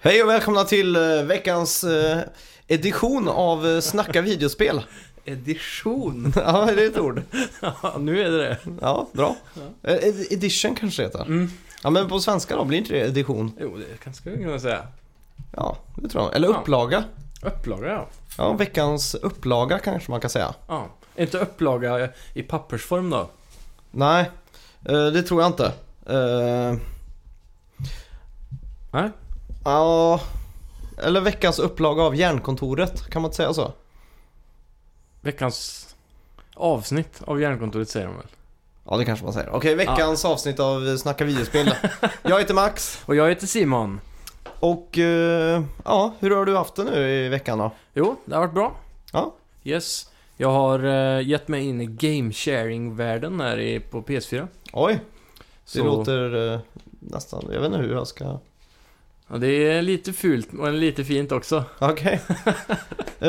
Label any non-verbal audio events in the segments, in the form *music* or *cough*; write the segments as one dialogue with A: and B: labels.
A: Hej och välkomna till eh, veckans eh, edition av eh, Snacka videospel. *laughs*
B: *laughs* Edition.
A: ja, det är ett ord.
B: Ja, nu är det det.
A: Ja, bra. Eh, ed- edition kanske det heter.
B: Mm.
A: Ja, men på svenska då, blir inte det edition?
B: Jo, det kan skulle jag kunna säga.
A: Ja, det tror jag. Eller
B: Ja.
A: upplaga.
B: Upplaga, ja.
A: Ja, veckans upplaga kanske man kan säga.
B: ja. Är inte upplaga i pappersform då?
A: Nej, eh, det tror jag inte. Eh,
B: Nej.
A: Ja, eller veckans upplaga av Järnkontoret, kan man inte säga så?
B: Veckans avsnitt av Järnkontoret säger de väl.
A: Ja, det kanske man säger. Okej, veckans avsnitt av eh, Snacka videospel. då. jag heter Max.
B: Och jag heter Simon.
A: Och eh, ja, hur har du haft det nu i veckan då?
B: Jo, det har varit bra.
A: Ja.
B: Yes. Jag har eh, gett mig in i game sharing-världen här i, på PS4.
A: Oj, det
B: Så-
A: låter eh, nästan... Jag vet inte hur jag ska... *laughs*
B: Ja, det är lite fult men lite fint också. *laughs*
A: Okej. Eh,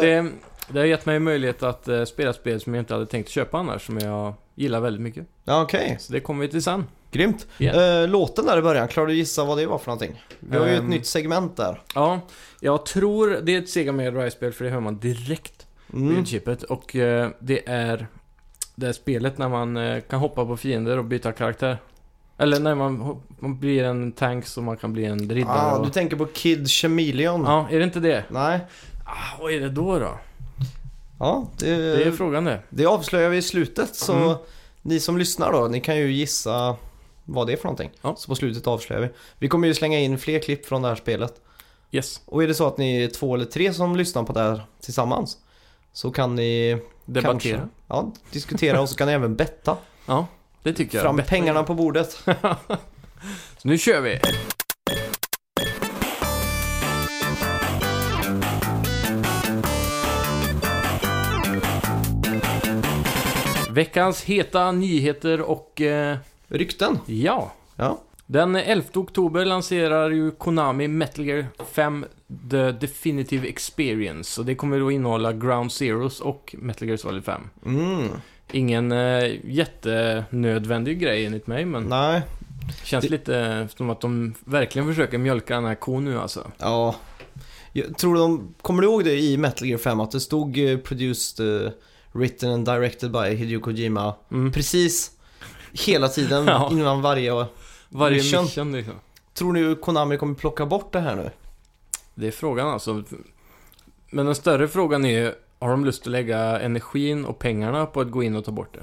B: Det, det har gett mig möjlighet att eh, spela spel som jag inte hade tänkt köpa annars, som jag gillar väldigt mycket.
A: ja, Okej,
B: Så det kommer vi till sen.
A: grymt.
B: Ja.
A: Eh, låten där i början, klarar du gissa vad det var för någonting? Vi har ju ett
B: Ehm.
A: nytt segment där.
B: Ja, jag tror det är ett Sega Mega Drive-spel för det hör man direkt på
A: Mm.
B: ljudchippet. Och eh, det är det här spelet när man eh, kan hoppa på fiender och byta karaktär. Eller när man, hop- man blir en tank så man kan bli en riddare.
A: Ah,
B: och...
A: du tänker på Kid Chameleon?
B: Ja, är det inte det?
A: Nej.
B: Ah, vad är det då då?
A: Ja, det,
B: Det är
A: det,
B: frågan det.
A: avslöjar vi i slutet så
B: Mm.
A: ni som lyssnar då, ni kan ju gissa vad det är för någonting.
B: Ja.
A: Så på slutet avslöjar vi. Vi kommer ju slänga in fler klipp från det här spelet.
B: Yes,
A: Och är det så att ni är två eller tre som lyssnar på det här tillsammans så kan ni
B: debattera.
A: kanske, ja, diskutera och så kan ni även
B: *laughs*
A: betta.
B: Ja, det tycker jag.
A: Fram
B: Bättre.
A: pengarna på bordet.
B: Så nu kör vi! Veckans heta nyheter och eh,
A: Rykten.
B: ja.
A: Ja.
B: Den 11 oktober lanserar ju Konami Metal Gear 5 The Definitive Experience. Och det kommer då innehålla Ground Zeroes och Metal Gear Solid 5.
A: Mm.
B: Ingen eh, jättenödvändig grej enligt mig, men...
A: Nej.
B: Känns
A: Det-
B: lite eh, som att de verkligen försöker mjölka den här kon nu alltså.
A: Ja. Jag tror de, kommer du ihåg det i Metal Gear 5 att det stod eh, produced, eh, written and directed by Hideo Kojima
B: Mm.
A: precis hela
B: *laughs*
A: tiden
B: Ja.
A: innan varje.
B: Varje
A: Mission.
B: mission. liksom.
A: Tror ni Konami kommer plocka bort det här nu?
B: Det är frågan alltså. Men den större frågan är ju, har de lust att lägga energin och pengarna på att gå in och ta bort det?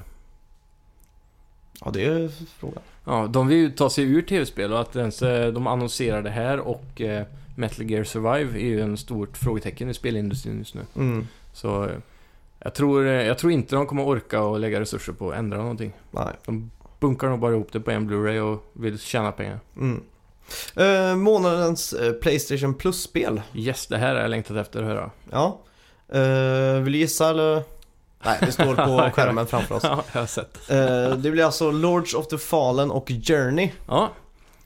A: Ja, det är frågan.
B: Ja, de vill ju ta sig ur tv-spel och att ens eh, de annonserar det här och eh, Metal Gear Survive är ju en stort frågetecken i spelindustrin just nu.
A: Mm.
B: Så eh, jag tror, eh, jag tror inte de kommer orka och lägga resurser på att ändra någonting.
A: Nej.
B: De bunkar nog bara ihop det på en Blu-ray och vill tjäna pengar.
A: Mm. Eh, månadens eh, Playstation Plus-spel.
B: Yes, det här har jag längtat efter att höra.
A: Ja. Eh, vill du gissa eller? Nej, det står på
B: *laughs*
A: skärmen framför oss.
B: Ja, jag har sett.
A: Eh, det blir alltså Lords of the Fallen och Journey.
B: Ja.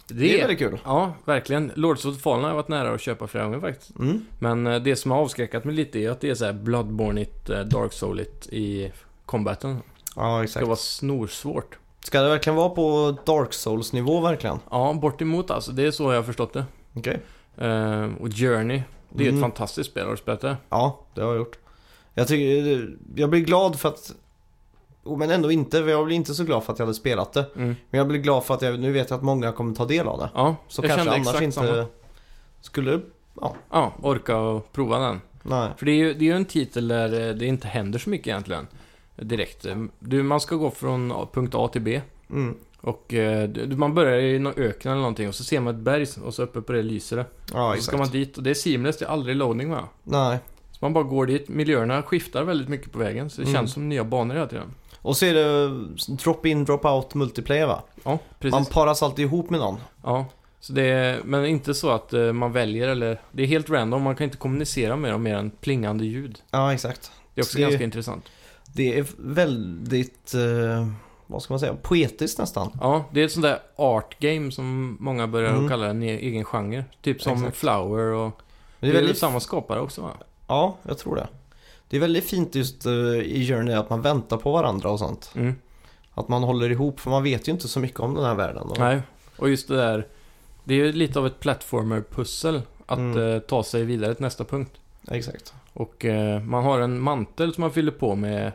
A: Det, är väldigt kul.
B: Ja, verkligen. Lords of the Fallen har jag varit nära att köpa flera gånger faktiskt.
A: Mm.
B: Men eh, det som har avskräckat mig lite är att det är så här Bloodborne-igt, eh, Dark Soul-igt i combaten.
A: Ja,
B: Det ska
A: exakt.
B: vara snorsvårt.
A: Ska det verkligen vara på Dark Souls-nivå verkligen?
B: Ja, bortemot alltså. Det är så jag har förstått det.
A: Okej.
B: Eh, och Journey. Det är ju
A: Mm.
B: ett fantastiskt spel. Har du spelat det?
A: Ja, det har jag gjort. Jag, tycker, eh, jag blir glad för att... oh, Men ändå inte, för jag blir inte så glad för att jag hade spelat det.
B: Mm.
A: Men jag blir glad för att jag, nu vet jag att många kommer ta del av det.
B: Ja,
A: Så
B: jag
A: kanske
B: kände
A: annars
B: exakt
A: inte
B: samma.
A: skulle...
B: Ja, orka och prova den.
A: Nej.
B: För det är ju det är ju en titel där eh, det inte händer så mycket egentligen. eh, Direkt. Eh, Du, man ska gå från A- punkt A till B.
A: Mm.
B: Och eh, du- man börjar i någon öken eller någonting och så ser man ett berg och så uppe på det lyser det.
A: Ja,
B: och så ska
A: exakt.
B: man dit och det är seamless, det är aldrig loading va?
A: Nej.
B: Så man bara går dit, miljöerna skiftar väldigt mycket på vägen så det
A: Mm.
B: känns som nya banor hela tiden.
A: Och så är det drop-in, drop-out multiplayer va?
B: Ja, precis.
A: Man paras alltid ihop med någon.
B: Ja. Så det är, men inte så att eh, man väljer eller... Det är helt random, man kan inte kommunicera med dem mer än plingande ljud.
A: Ja, exakt.
B: Det är också
A: Det-
B: ganska intressant.
A: Det är väldigt, eh, vad ska man säga, poetiskt nästan.
B: Ja, det är ett sånt där art game som många börjar
A: Mm.
B: kalla en e- egen genre. Typ som
A: Exakt.
B: Flower och...
A: Men det är väldigt,
B: samma skapare också va?
A: ja, jag tror det. Det är väldigt fint just eh, i Journey att man väntar på varandra och sånt.
B: Mm.
A: Att man håller ihop, för man vet ju inte så mycket om den här världen. Och,
B: Nej, och just det där Det är ju lite av ett platformer-pussel att
A: Mm.
B: eh, ta sig vidare till nästa punkt.
A: Exakt.
B: Och eh, man har en mantel som man fyller på med,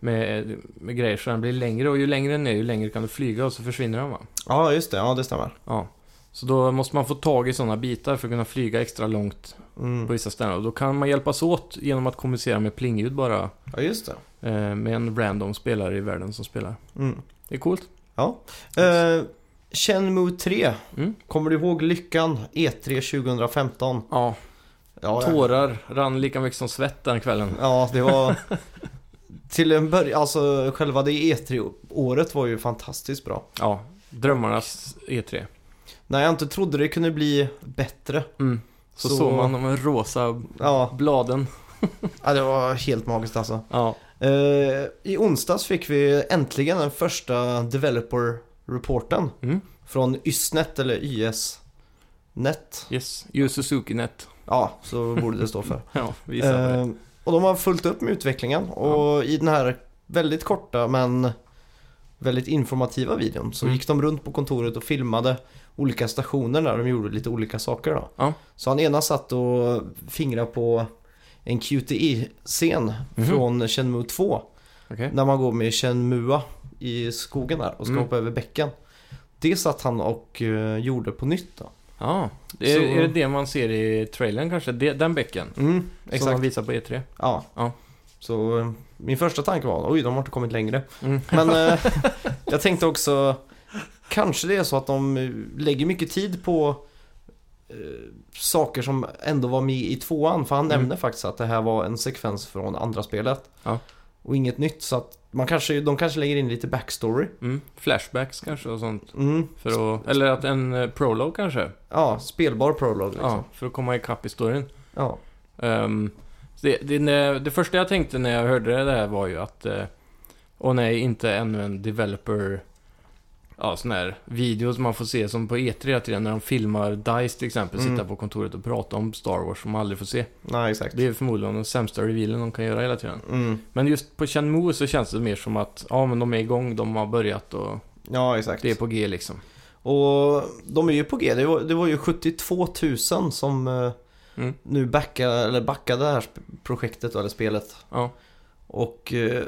B: med, med grejer så den blir längre och ju längre den är ju längre kan du flyga och så försvinner den va?
A: Ja, just det. Ja, det stämmer.
B: Ja. Så då måste man få tag i sådana bitar för att kunna flyga extra långt på
A: Mm.
B: vissa ställen. Och då kan man hjälpas åt genom att kommunicera med plingljud bara.
A: Ja, just det.
B: Eh, med en random spelare i världen som spelar.
A: Mm.
B: Det är coolt.
A: Eh, Shenmue 3.
B: Mm.
A: Kommer du ihåg lyckan? E E3 2015.
B: Ja,
A: Ja, ja.
B: tårar rann lika mycket som svett den kvällen.
A: ja det var... Till en början, alltså själva det E3-året var ju fantastiskt bra.
B: Ja, drömmarnas E E3.
A: När jag inte trodde det kunde bli bättre.
B: Mm. Så,
A: Så-
B: såg man de rosa
A: Ja,
B: bladen.
A: ja det var helt magiskt alltså.
B: Ja,
A: Eh, I onsdags fick vi äntligen den första developer-reporten
B: Mm.
A: från YSNet eller YS-net.
B: yes. Yu Suzuki-net.
A: Ja, så borde det stå för.
B: Ja, vi gissade på det.
A: Eh, och de har fullt upp med utvecklingen och i den här väldigt korta men väldigt informativa videon så
B: Mm.
A: gick de runt på kontoret och filmade olika stationer där de gjorde lite olika saker då.
B: Ja.
A: Så han ena satt och fingrade på en QTE-scen
B: Mhm.
A: från Shenmue 2
B: Okej.
A: när man går med Shenmua i skogen där och ska
B: Mm.
A: hoppa över bäcken. Det satt han och eh, gjorde på nytt då.
B: Ja, det är,
A: Så-
B: är det det man ser i trailern kanske? Det, den bäcken?
A: Mm,
B: Som
A: exakt.
B: de visar på E E3?
A: Ja.
B: Ja.
A: Så eh, min första tanke var oj, de har inte kommit längre.
B: Mm.
A: Men eh,
B: *laughs*
A: jag tänkte också, kanske det är så att de eh, lägger mycket tid på eh, saker som ändå var med i tvåan. För han
B: Mm.
A: nämnde faktiskt att det här var en sekvens från andra spelet.
B: Ja.
A: Och inget nytt, så att man kanske, de kanske lägger in lite backstory.
B: Mm. Flashbacks kanske och sånt.
A: Mm.
B: För att, eller att en eh, prolog kanske?
A: Ja, spelbar prolog liksom.
B: Ja, för att komma ikapp historien.
A: Ja.
B: Ehm, det, det, när- det första jag tänkte när jag hörde det här var ju att... eh, Åh nej, inte ännu en developer... Ja, sån här video som man får se som på E3 hela tiden när de filmar DICE till exempel,
A: Mm.
B: sitta på kontoret och prata om Star Wars som man aldrig får se.
A: Nej, exakt.
B: Det är förmodligen den sämsta revealen de kan göra hela tiden.
A: Mm.
B: Men just på Shenmue så känns det mer som att, ja men de är igång, de har börjat och
A: Ja, exakt.
B: det är på G liksom.
A: Och de är ju på G. Det var, det var ju 72 000 som eh,
B: Mm.
A: nu backade, eller backade det här sp- projektet eller spelet.
B: Ja.
A: Och eh,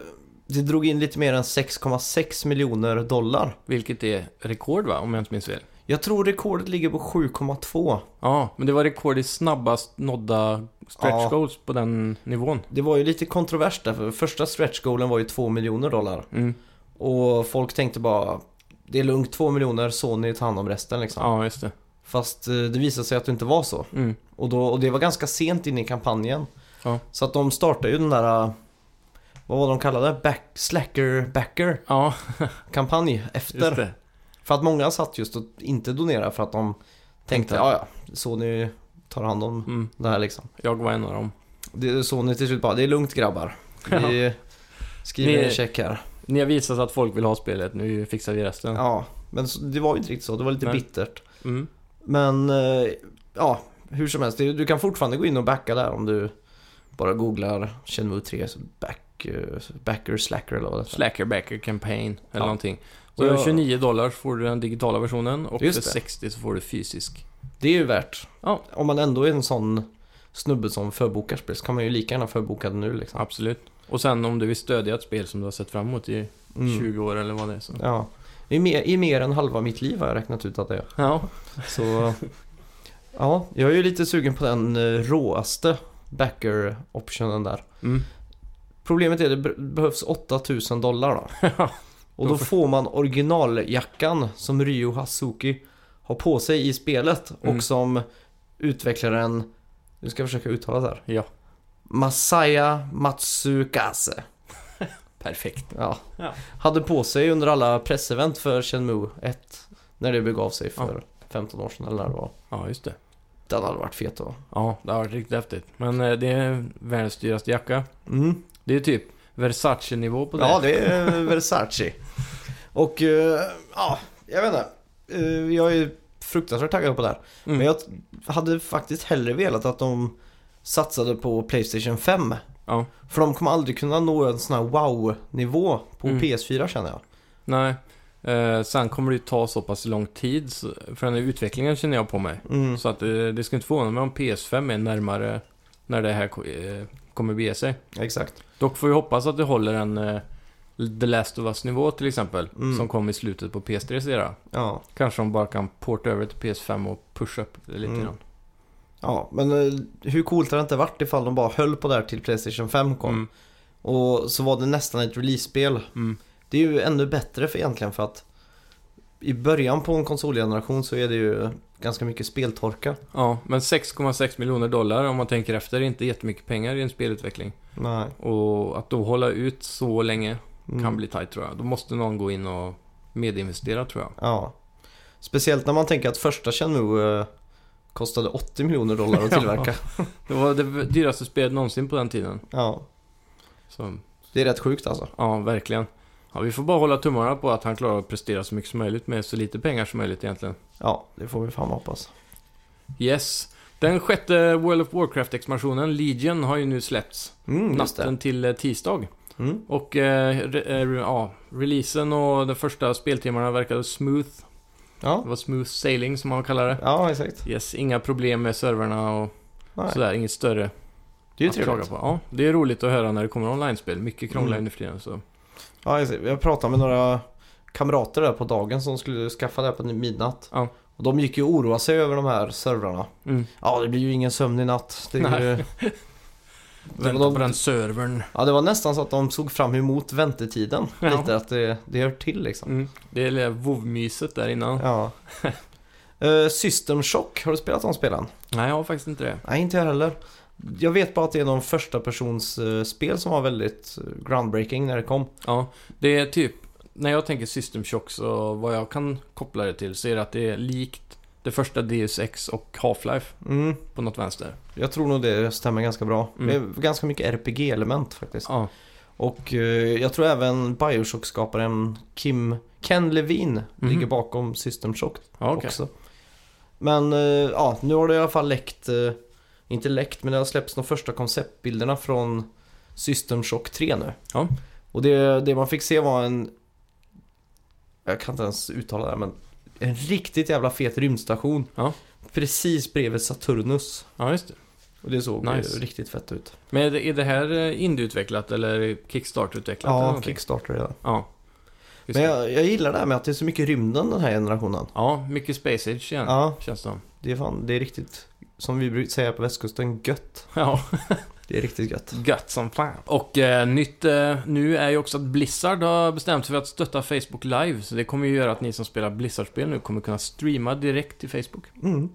A: det drog in lite mer än 6,6 miljoner dollar.
B: Vilket är rekord va, om jag inte minns fel?
A: Jag tror rekordet ligger på 7,2.
B: Ja, men det var rekord i snabbast nådda stretch
A: Ja.
B: goals på den nivån.
A: Det var ju lite kontrovers där, för första stretch-goalen var ju 2 miljoner dollar.
B: Mm.
A: Och folk tänkte bara, det är lugnt 2 miljoner, Sony tar hand om resten liksom.
B: Ja, just det.
A: Fast eh, det visade sig att det inte var så.
B: Mm.
A: Och, då, och det var ganska sent in i kampanjen.
B: Ja.
A: Så att de startade ju den där, äh, vad var de kallade? Back, slacker backer
B: Ja,
A: kampanj efter.
B: just det.
A: För att många satt just och inte donerade för att de tänkte, ja ja, Sony tar hand om
B: Mm.
A: det här liksom.
B: Jag var en av dem.
A: Det, Sony till slut bara, det är lugnt
B: *laughs*
A: grabbar. Vi skriver
B: Ni-
A: en check här.
B: Ni har visat att folk vill ha spelet, nu fixar vi resten.
A: Ja, men så- det var ju inte riktigt så, det var lite
B: Nej.
A: bittert.
B: Mm.
A: Men eh, ja, hur som helst. det- Du kan fortfarande gå in och backa där om du bara googlar Shenmue 3 så back, eh, backer, slacker eller vad det heter.
B: Slackerbacker campaign, eller
A: Ja.
B: någonting.
A: Så
B: Så
A: jag-
B: 29 dollar så får du den digitala versionen och
A: Just
B: för
A: det.
B: 60 så får du fysisk.
A: Det är ju värt.
B: Ja.
A: Om man ändå är en sån snubbe som förbokar spel så kan man ju lika gärna förboka det nu liksom.
B: Absolut. Och sen om du vill stödja ett spel som du har sett fram emot i
A: Mm.
B: 20 år eller vad det är så.
A: Ja. I mer, I mer än halva mitt liv har jag räknat ut att det är.
B: Ja.
A: Så ja, jag är ju lite sugen på den eh, råaste backer-optionen där.
B: Mm. *laughs*
A: Problemet är att det be- behövs 8000 dollar då.
B: Ja.
A: Och då får man originaljackan som Ryo Hasuki har på sig i spelet
B: Mm.
A: och som utvecklaren, nu ska jag försöka uttala det här,
B: ja.
A: Masaya Matsukase.
B: Perfekt.
A: Ja.
B: Ja.
A: Hade på sig under alla pressevent för Shenmue 1 när det begav sig för 15 år sedan eller när det var.
B: Ja, just det.
A: Den hade varit fet då.
B: Ja, det har varit riktigt häftigt. Men eh, det är världens dyraste jacka.
A: Mm.
B: Det är typ Versace-nivå på det.
A: Ja, det är Versace. *laughs* Och eh, ja, jag vet inte. Eh, Jag är fruktansvärt taggad på det här.
B: Mm.
A: Men jag t- hade faktiskt hellre velat att de satsade på Playstation 5.
B: Ja.
A: För de kommer aldrig kunna nå en sån här wow-nivå på
B: Mm.
A: PS4 känner jag.
B: Nej. Eh, sen kommer det ju ta så pass lång tid så, för den här utvecklingen känner jag på mig.
A: Mm.
B: Så att eh, det ska inte förvåna mig om PS5 är närmare när det här ko- eh, kommer bege sig.
A: Exakt.
B: Dock får vi hoppas att det håller en eh, The Last of Us nivå till exempel.
A: Mm.
B: Som kom i slutet på PS3 era.
A: Ja.
B: Kanske de bara kan porta över till PS5 och pusha upp det lite
A: Mm.
B: grann.
A: ja, men eh, hur coolt hade det inte varit ifall de bara höll på där till Playstation 5 kom.
B: Mm.
A: Och så var det nästan ett release-spel.
B: Mm.
A: Det är ju ännu bättre för egentligen för att i början på en konsolgeneration så är det ju ganska mycket speltorka.
B: Ja, men 6,6 miljoner dollar om man tänker efter är inte jättemycket pengar i en spelutveckling.
A: Nej. Mm.
B: Och att då hålla ut så länge kan bli tight tror jag. Då måste någon gå in och medinvestera tror jag.
A: Ja. Speciellt när man tänker att första Chenmu kostade 80 miljoner dollar *laughs* att tillverka.
B: Det var det dyraste spelet någonsin på den tiden.
A: ja.
B: Så,
A: Det är rätt sjukt alltså.
B: ja, verkligen. Ja, vi får bara hålla tummarna på att han klarar att prestera så mycket som möjligt med så lite pengar som möjligt egentligen.
A: Ja, det får vi fan hoppas.
B: Yes. Den sjätte World of Warcraft-expansionen, Legion, har ju nu släppts.
A: Mm, just det.
B: Natten till eh, tisdag.
A: Mm.
B: Och eh, re, eh, re- ja, releasen och de första speltimmarna verkade smooth.
A: Ja.
B: Det var smooth sailing som man kallar det.
A: ja, exakt.
B: Yes, inga problem med servrarna och
A: Nej.
B: sådär. Inget större
A: Det är ju
B: att klaga
A: trevligt.
B: på. Ja, det är roligt att höra när det kommer online-spel. Mycket krånglar
A: Mm.
B: nu för tiden. Så.
A: Ja, exakt. Jag pratade med några kamrater där på dagen som skulle skaffa det här på midnatt.
B: Ja.
A: Och de gick ju och oroade sig över de här servrarna.
B: Mm.
A: Ja, det blir ju ingen sömn i natt. Det är ju... det,
B: Vänta
A: var
B: på
A: de...
B: den servern.
A: ja, det var nästan så att de såg fram emot väntetiden.
B: Ja.
A: Lite att det, det hör till liksom.
B: Mm. Det är lilla vovmyset där innan.
A: Ja. *laughs* Eh, System Shock, har du spelat de spelen?
B: Nej, jag har faktiskt inte det.
A: Nej, inte jag heller. Jag vet bara att det är någon första persons eh, spel som var väldigt eh, groundbreaking när det kom.
B: Ja, det är typ... När jag tänker System Shock så vad jag kan koppla det till så är det att det är likt det första Deus Ex och Half-Life
A: Mm,
B: på något vänster.
A: jag tror nog det stämmer ganska bra.
B: Mm.
A: Det är ganska mycket RPG-element faktiskt.
B: Ja,
A: Och eh, jag tror även Bioshock-skaparen Kim, Ken Levine
B: Mhm.
A: ligger bakom System Shock
B: ja okej.
A: också. Men eh, ja, nu har det i alla fall läckt, eh, inte läckt, men det har släppts de första konceptbilderna från System Shock 3 nu.
B: Ja.
A: Och det, det man fick se var en, jag kan inte ens uttala det här, men en riktigt jävla fet rymdstation.
B: Ja.
A: Precis bredvid Saturnus.
B: Ja, just det.
A: Och det såg
B: Nice.
A: ju riktigt fett ut.
B: Men är det, är det här eh, indieutvecklat eller Kickstarter-utvecklat? eller
A: Ja,
B: någonting?
A: Kickstarter redan.
B: Ja. Just
A: Men
B: det.
A: jag, jag gillar det här med att det är så mycket rymden den här generationen.
B: ja, mycket Space Age igen.
A: Ja,
B: Känns det som. *laughs*
A: det är fan, det är riktigt, som vi brukar säga på västkusten, gött.
B: Ja,
A: Det är riktigt gött.
B: gött som fan. Och eh, nytt eh, nu är ju också att Blizzard har bestämt sig för att stötta Facebook Live. Så det kommer ju göra att ni som spelar Blizzard-spel nu kommer kunna streama direkt till Facebook.
A: Mm.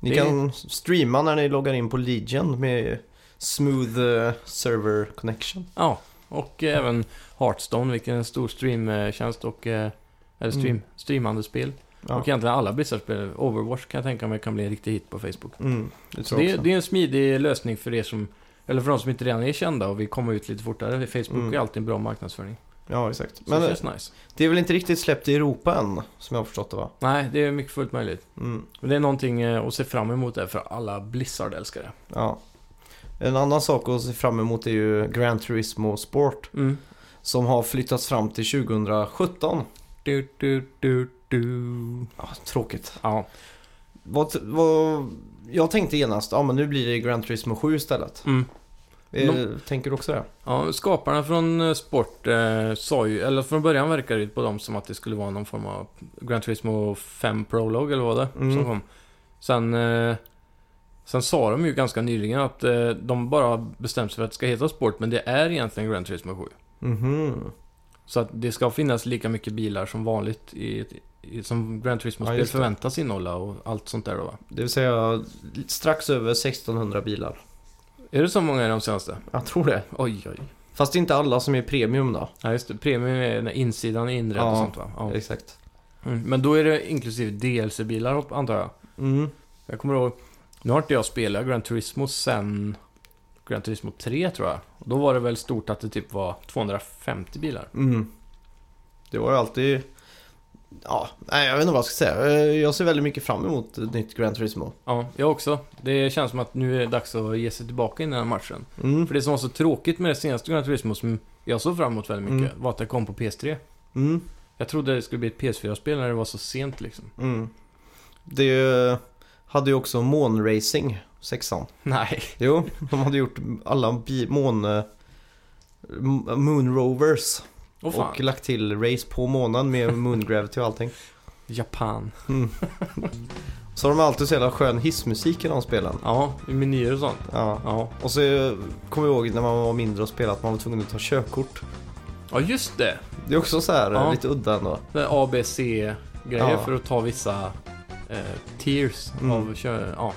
A: Ni
B: Det-
A: kan streama när ni loggar in på Legion med smooth eh, server connection.
B: Ja, och eh, även Hearthstone, vilken är en stor streamtjänst och... eh, Eller stream,
A: Mm.
B: streamande spel.
A: Ja.
B: Och egentligen alla Blizzard-spel. Overwatch kan jag tänka mig kan bli en riktig hit på Facebook.
A: Mm, det
B: Så
A: tror jag
B: det,
A: också.
B: det är en smidig lösning för er som, eller för de som inte redan är kända och vill komma ut lite fortare. Facebook
A: Mm.
B: är alltid en bra marknadsföring.
A: Ja, exakt.
B: Så
A: Men
B: det
A: eh,
B: känns nice.
A: det är väl inte riktigt släppt i Europa än, som jag har förstått det va?
B: Nej, det är mycket fullt möjligt.
A: Mm,
B: Men det är någonting eh, att se fram emot där för alla Blizzard-älskare.
A: ja. En annan sak att se fram emot är ju Gran Turismo Sport
B: Mm.
A: som har flyttats fram till 2017.
B: Du, du, du, du.
A: Ja, tråkigt.
B: Ja,
A: Vad, vad, jag tänkte genast, ja men nu blir det Gran Turismo 7 istället.
B: mm.
A: Eh, Tänker du också det?
B: ja, skaparna från eh, Sport eh, sa ju, eller från början verkade det på dem som att det skulle vara någon form av Gran Turismo 5 Prologue eller vad det
A: Mm.
B: som kom. Sen, eh, sen sa de ju ganska nyligen att eh, de bara bestämt sig för att det ska heta Sport, men det är egentligen Gran Turismo 7.
A: Mhm.
B: Så att det ska finnas lika mycket bilar som vanligt i, i, som Gran
A: Ja,
B: Turismo-spel
A: just det.
B: förväntas innehålla och allt sånt där då va?
A: Det vill säga strax över 1600 bilar.
B: Är det så många i de senaste?
A: Jag tror det.
B: Oj, oj.
A: Fast det är inte alla som är premium då.
B: Ja, just det. Premium är när insidan är inredd och
A: Ja.
B: sånt va? Ja.
A: Exakt.
B: Mm. Men då är det inklusive DLC-bilar hopp- antar jag.
A: Mm.
B: Jag kommer ihåg, nu har inte jag spelat Gran Turismo sen Gran Turismo 3 tror jag. Och Då var det väl stort att det typ var 250 bilar.
A: Mm. Det var ju alltid... Ja, nej, jag vet inte vad jag ska säga. Eh, Jag ser väldigt mycket fram emot ett nytt Gran Turismo.
B: Ja, jag också. Det känns som att nu är det dags att ge sig tillbaka in i den här matchen.
A: Mm.
B: För det som Mm. var så tråkigt med det senaste Gran Turismo som jag såg fram emot väldigt mycket var att det kom på PS3.
A: Mm.
B: Jag trodde det skulle bli ett PS4-spel när det var så sent liksom.
A: Mm. Det eh, hade ju också månracing, sexan.
B: Nej.
A: Jo, *laughs* de hade gjort alla bi- mån... eh, m- Moon Rovers
B: Åh fan.
A: och lagt till race på månen med Moon Gravity och allting.
B: Japan.
A: Så har de alltid så jävla skön hissmusik i de spelen.
B: Ja, i menyer och sånt.
A: Ja.
B: Ja.
A: Och så eh, kommer jag ihåg när man var mindre och spelade att man var tvungen att ta körkort.
B: Ja, just det.
A: Det är också så här eh,
B: Ja.
A: lite udda ändå.
B: Det A, B, C-grejer
A: Ja.
B: för att ta vissa eh, tiers
A: Mm.
B: av kö- ja,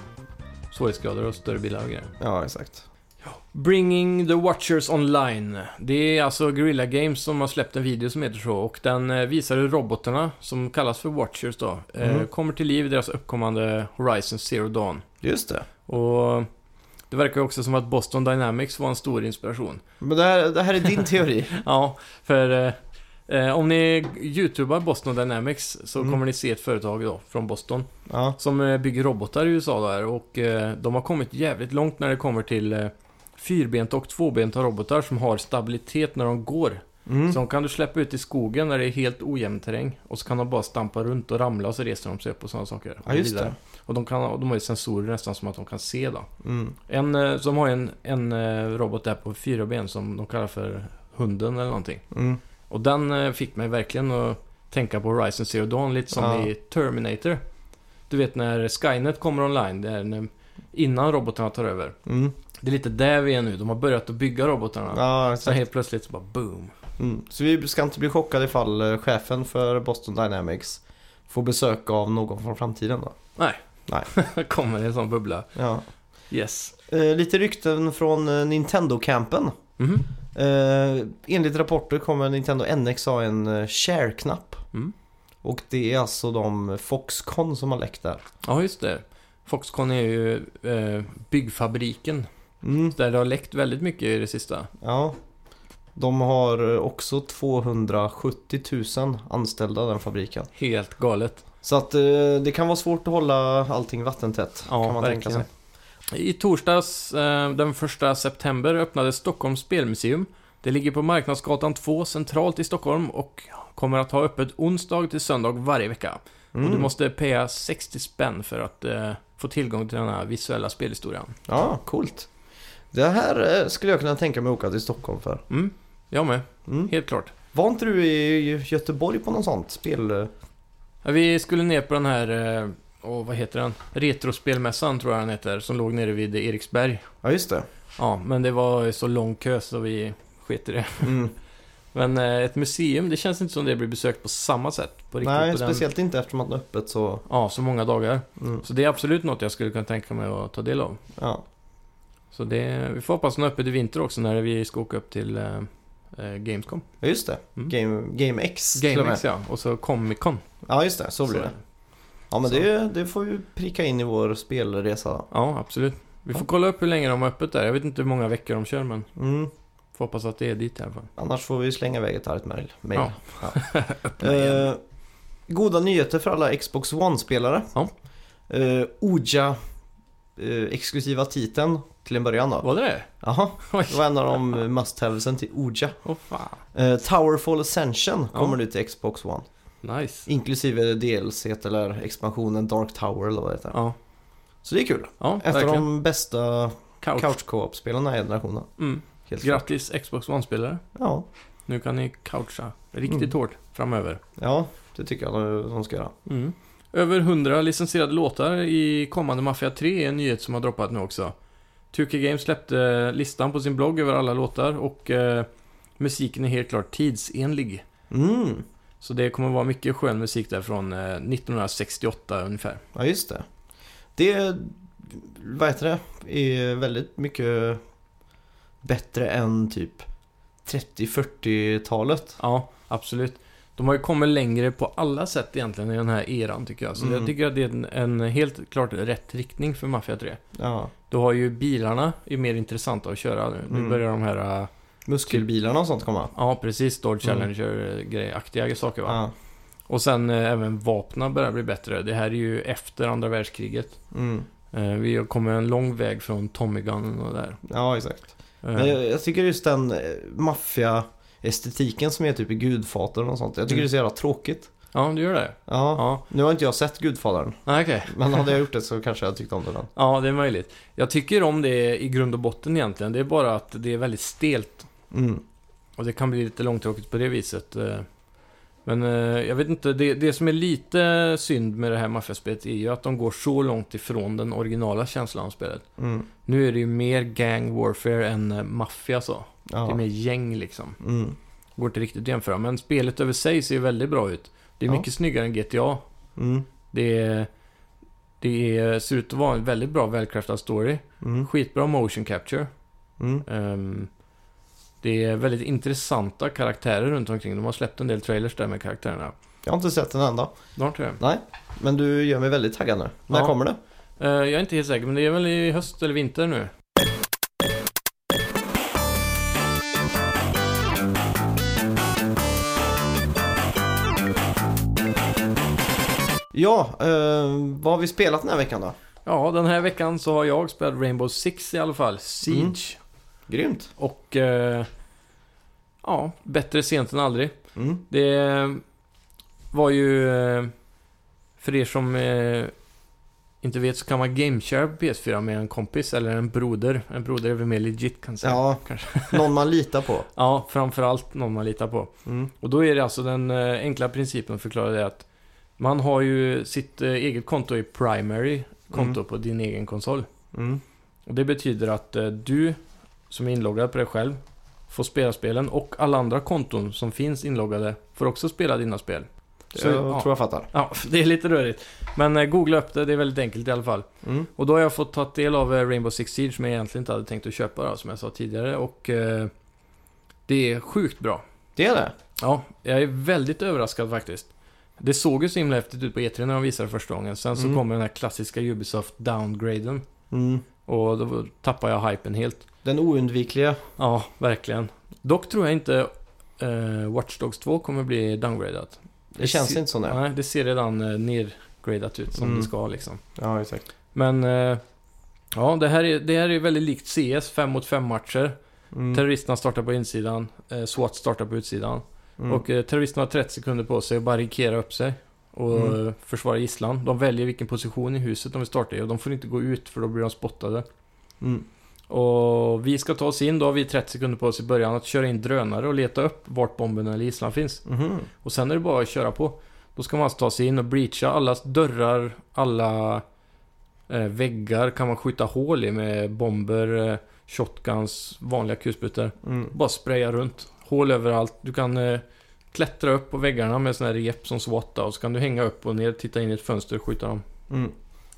B: svårighetsgrader och större bilar och grejer.
A: Ja, exakt.
B: Bringing the Watchers Online. Det är alltså Guerrilla Games som har släppt en video som heter så och den eh, visar hur robotarna, som kallas för Watchers då, eh,
A: Mhm.
B: kommer till liv i deras uppkommande Horizon Zero Dawn.
A: Just det.
B: Och det verkar ju också som att Boston Dynamics var en stor inspiration.
A: Men det här, det här är din teori. *laughs*
B: Ja, för eh, eh, om ni youtubar Boston Dynamics så
A: Mm.
B: kommer ni se ett företag då från Boston
A: ja.
B: som eh, bygger robotar i USA där och eh, de har kommit jävligt långt när det kommer till eh, fyrbenta och tvåbenta robotar som har stabilitet när de går.
A: Mm.
B: Så de kan du släppa ut i skogen när det är helt ojämn terräng och så kan de bara stampa runt och ramla och så reser de sig upp och sådana saker.
A: Ja, just
B: Vidare.
A: det.
B: Och de, kan, och de har ju sensorer nästan som att de kan se då.
A: Mm.
B: En, eh, som har en, en eh, robot där på fyra ben som de kallar för hunden eller någonting.
A: Mm.
B: Och den eh, fick mig verkligen att tänka på Horizon Zero Dawn lite som
A: Ja.
B: i Terminator. Du vet när Skynet kommer online, det är när, innan robotarna tar över.
A: Mm.
B: Det är lite där vi är nu, de har börjat att bygga robotarna.
A: Ja,
B: Så
A: exakt.
B: helt plötsligt så bara boom. *laughs*
A: Mm. Så vi ska inte bli chockade ifall eh, chefen för Boston Dynamics får besök av någon från framtiden då.
B: kommer det en sån bubbla.
A: Ja.
B: Yes.
A: Eh, lite rykten från eh, Nintendo-campen.
B: Mhm.
A: Eh, enligt rapporter kommer Nintendo NX ha en eh, share-knapp.
B: Mm.
A: Och det är alltså de Foxconn som har läckt där.
B: Ja, just det. Foxconn är ju eh, byggfabriken.
A: Mm.
B: Där det har läckt väldigt mycket i det sista.
A: Ja. De har eh, också 270 000 anställda den fabriken.
B: Helt galet.
A: Så att eh, det kan vara svårt att hålla allting vattentätt.
B: Ja,
A: kan man
B: verkligen.
A: tänka sig.
B: I torsdags, eh, den 1 september, öppnades Stockholms spelmuseum. Det ligger på Marknadsgatan 2 centralt i Stockholm och kommer att ha öppet onsdag till söndag varje vecka.
A: Mm.
B: Och du måste paya 60 spänn för att eh, få tillgång till den här visuella spelhistorien.
A: Ja, coolt. Det här eh, skulle jag kunna tänka mig att åka till Stockholm för.
B: Mm, jag med.
A: Mm.
B: Helt klart.
A: Var inte du i Göteborg på något sånt spel? eh?
B: Ja, Vi skulle ner på den här, eh, åh, vad heter den? Retrospelmässan tror jag den heter, som låg nere vid Eriksberg.
A: Ja, just det.
B: Ja, men det var så lång kö så vi sket i det.
A: Mm.
B: Men eh, ett museum, det känns inte som det blir besökt på samma sätt. På riktigt,
A: Nej,
B: på den-
A: speciellt inte eftersom att det är öppet så...
B: Ja, så många dagar.
A: Mm.
B: Så det är absolut något jag skulle kunna tänka mig att ta del av.
A: Ja.
B: Så det, vi får hoppas den är öppet i vinter också när vi ska åka upp till eh, eh, Gamescom.
A: ja, just det.
B: Mm.
A: Game, Game X. till och med.
B: GameX ja, och så Comic Con.
A: Ja, just det. Så blir det. Ja, men
B: Så.
A: det, det får vi pricka in i vår spelresa.
B: Ja, absolut. Vi får kolla upp hur länge de har öppet där. Jag vet inte hur många veckor de kör, men
A: Mm.
B: får hoppas att det är dit i alla fall.
A: Annars får vi slänga iväg ett argt mejl. mejl.
B: Ja. *laughs*
A: Eh, goda nyheter för alla Xbox One-spelare.
B: Ja.
A: Eh, Oja eh, exklusiva titeln till en början då.
B: Var det det?
A: Jaha,
B: *laughs* Oj.
A: det var en av de must-havesen till Oja.
B: Åh fan.
A: Eh, Towerfall Ascension
B: Ja.
A: kommer nu till Xbox One.
B: Nice.
A: Inklusive DLC eller expansionen Dark Tower eller vad det heter.
B: Ja,
A: Så det är kul.
B: ja
A: Ett av
B: verkligen.
A: de bästa
B: Couch.
A: couch co-op-spelen den här generationen.
B: Mm.
A: Helt klart.
B: Grattis Xbox One-spelare.
A: Ja.
B: Nu kan ni coucha riktigt
A: Mm.
B: hårt framöver.
A: ja, det tycker jag de- de ska göra.
B: Mm. Över 100 licensierade låtar i kommande Mafia 3 är en nyhet som har droppat nu också. 2K Games släppte listan på sin blogg över alla låtar och eh, musiken är helt klart tidsenlig.
A: Mm,
B: Så det kommer vara mycket skön musik där från eh, 1968 ungefär.
A: ja just det. Det, vad heter det, är väldigt mycket bättre än typ 30-40-talet.
B: Ja, absolut. De har ju kommit längre på alla sätt egentligen i den här eran tycker jag. Så
A: Mm.
B: jag tycker att det är en, en helt klart rätt riktning för Mafia 3.
A: Ja.
B: Du har ju bilarna, är mer intressanta att köra nu. Nu
A: Mm.
B: börjar de här eh,
A: Muskelbilarna och sånt komma.
B: Ja, precis. Dodge
A: Mm.
B: Challenger-aktiga saker va?
A: Ja.
B: Och sen eh, även vapnen börjar bli bättre. Det här är ju efter andra världskriget.
A: Mm.
B: Eh, vi har kommit en lång väg från Tommy Gun och där.
A: ja, exakt.
B: Eh,
A: Men jag, jag tycker just den eh, maffia estetiken som är typ i Gudfadern och sånt. Jag tycker det är så jävla tråkigt.
B: Ja, du gör det?
A: Ja,
B: Mm. Ja.
A: nu har inte jag sett Gudfadern.
B: Nej, okej.
A: Men hade jag gjort det så kanske jag hade tyckt om det den.
B: Ja, det är möjligt. Jag tycker om det i grund och botten egentligen. Det är bara att det är väldigt stelt.
A: Mm.
B: Och det kan bli lite långtråkigt på det viset. eh. Men eh, jag vet inte, det, det som är lite synd med det här maffiaspelet är ju att de går så långt ifrån den originala känslan av spelet.
A: Mm.
B: Nu är det ju mer gang warfare än eh, maffia så. Det
A: Ja.
B: är mer gäng liksom.
A: Mm.
B: Går inte riktigt att jämföra. Men spelet över sig ser ju väldigt bra ut. Det är
A: Ja.
B: mycket snyggare än GTA.
A: Mm.
B: Det, är, det är, ser ut att vara en väldigt bra välkraftad story.
A: Mm.
B: Skitbra motion capture.
A: Mm.
B: Ehm, det är väldigt intressanta karaktärer runt omkring. De har släppt en del trailers där med karaktärerna.
A: Jag har inte sett den enda.
B: De har Ehm, inte det.
A: Men du gör mig väldigt taggad nu. När
B: Ja.
A: kommer det?
B: Eh, jag är inte helt säker, men det är väl i höst eller vinter nu.
A: Ja, eh, vad har vi spelat den här veckan då?
B: Ja, den här veckan så har jag spelat Rainbow Six i alla fall. Siege.
A: Mm. Grymt.
B: Och... eh, ja, bättre sent än aldrig.
A: Mm.
B: Det eh, var ju... eh, För er som eh, inte vet så kan man gameshare på PS4 med en kompis eller en broder. En broder är väl mer legit kan jag säga.
A: Ja, *laughs* någon man litar på.
B: Ja, framförallt någon man litar på.
A: Mm.
B: Och då är det alltså den eh, enkla principen att förklara det att man har ju sitt eh, eget konto i primary konto på din egen konsol.
A: Mm.
B: Och det betyder att eh, du som är inloggad på dig själv får spela spelen och alla andra konton som finns inloggade får också spela dina spel.
A: Så
B: Eh,
A: jag
B: ja.
A: tror jag fattar.
B: Ja, *laughs* det är lite rörigt. Men eh, googla upp det, det är väldigt enkelt i alla fall.
A: Mm.
B: Och då har jag fått ta del av eh, Rainbow Six Siege som jag egentligen inte hade tänkt att köpa då, som jag sa tidigare. Och eh, det är sjukt bra.
A: Det är det?
B: Ja, jag är väldigt överraskad faktiskt. Det såg ju så himla häftigt ut på E3 när de visade det första gången. Sen så
A: Mm.
B: kom den här klassiska Ubisoft downgraden.
A: Mm.
B: Och då tappade jag hypen helt.
A: Den oundvikliga.
B: Ja, verkligen. Dock tror jag inte eh, Watch Dogs 2 kommer bli downgradat.
A: Det känns
B: ser,
A: inte så nu.
B: Nej, det ser redan eh, nergradat ut som
A: Mm.
B: det ska liksom.
A: Ja, exakt.
B: Men eh, ja, det här, är, det här är väldigt likt CS, 5 mot 5 matcher.
A: Mm.
B: Terroristerna startar på insidan, eh, SWAT startar på utsidan.
A: Mm.
B: Och eh, terroristerna har 30 sekunder på sig att barrikera upp sig och
A: Mm.
B: eh, försvara gisslan. De väljer vilken position i huset de vill starta i och de får inte gå ut för då blir de spottade.
A: Mm.
B: Och vi ska ta oss in, då har vi 30 sekunder på oss i början att köra in drönare och leta upp vart bomben eller gisslan finns.
A: Mhm.
B: Och sen är det bara att köra på. Då ska man alltså ta sig in och breacha alla dörrar, alla eh, väggar kan man skjuta hål i med bomber, eh, shotguns, vanliga kulsprutor.
A: Mm.
B: Bara spraya runt. Hål överallt. Du kan eh, klättra upp på väggarna med sådana här rep som SWAT då, och så kan du hänga upp och ner, titta in i ett fönster och skjuta dem.
A: Mm.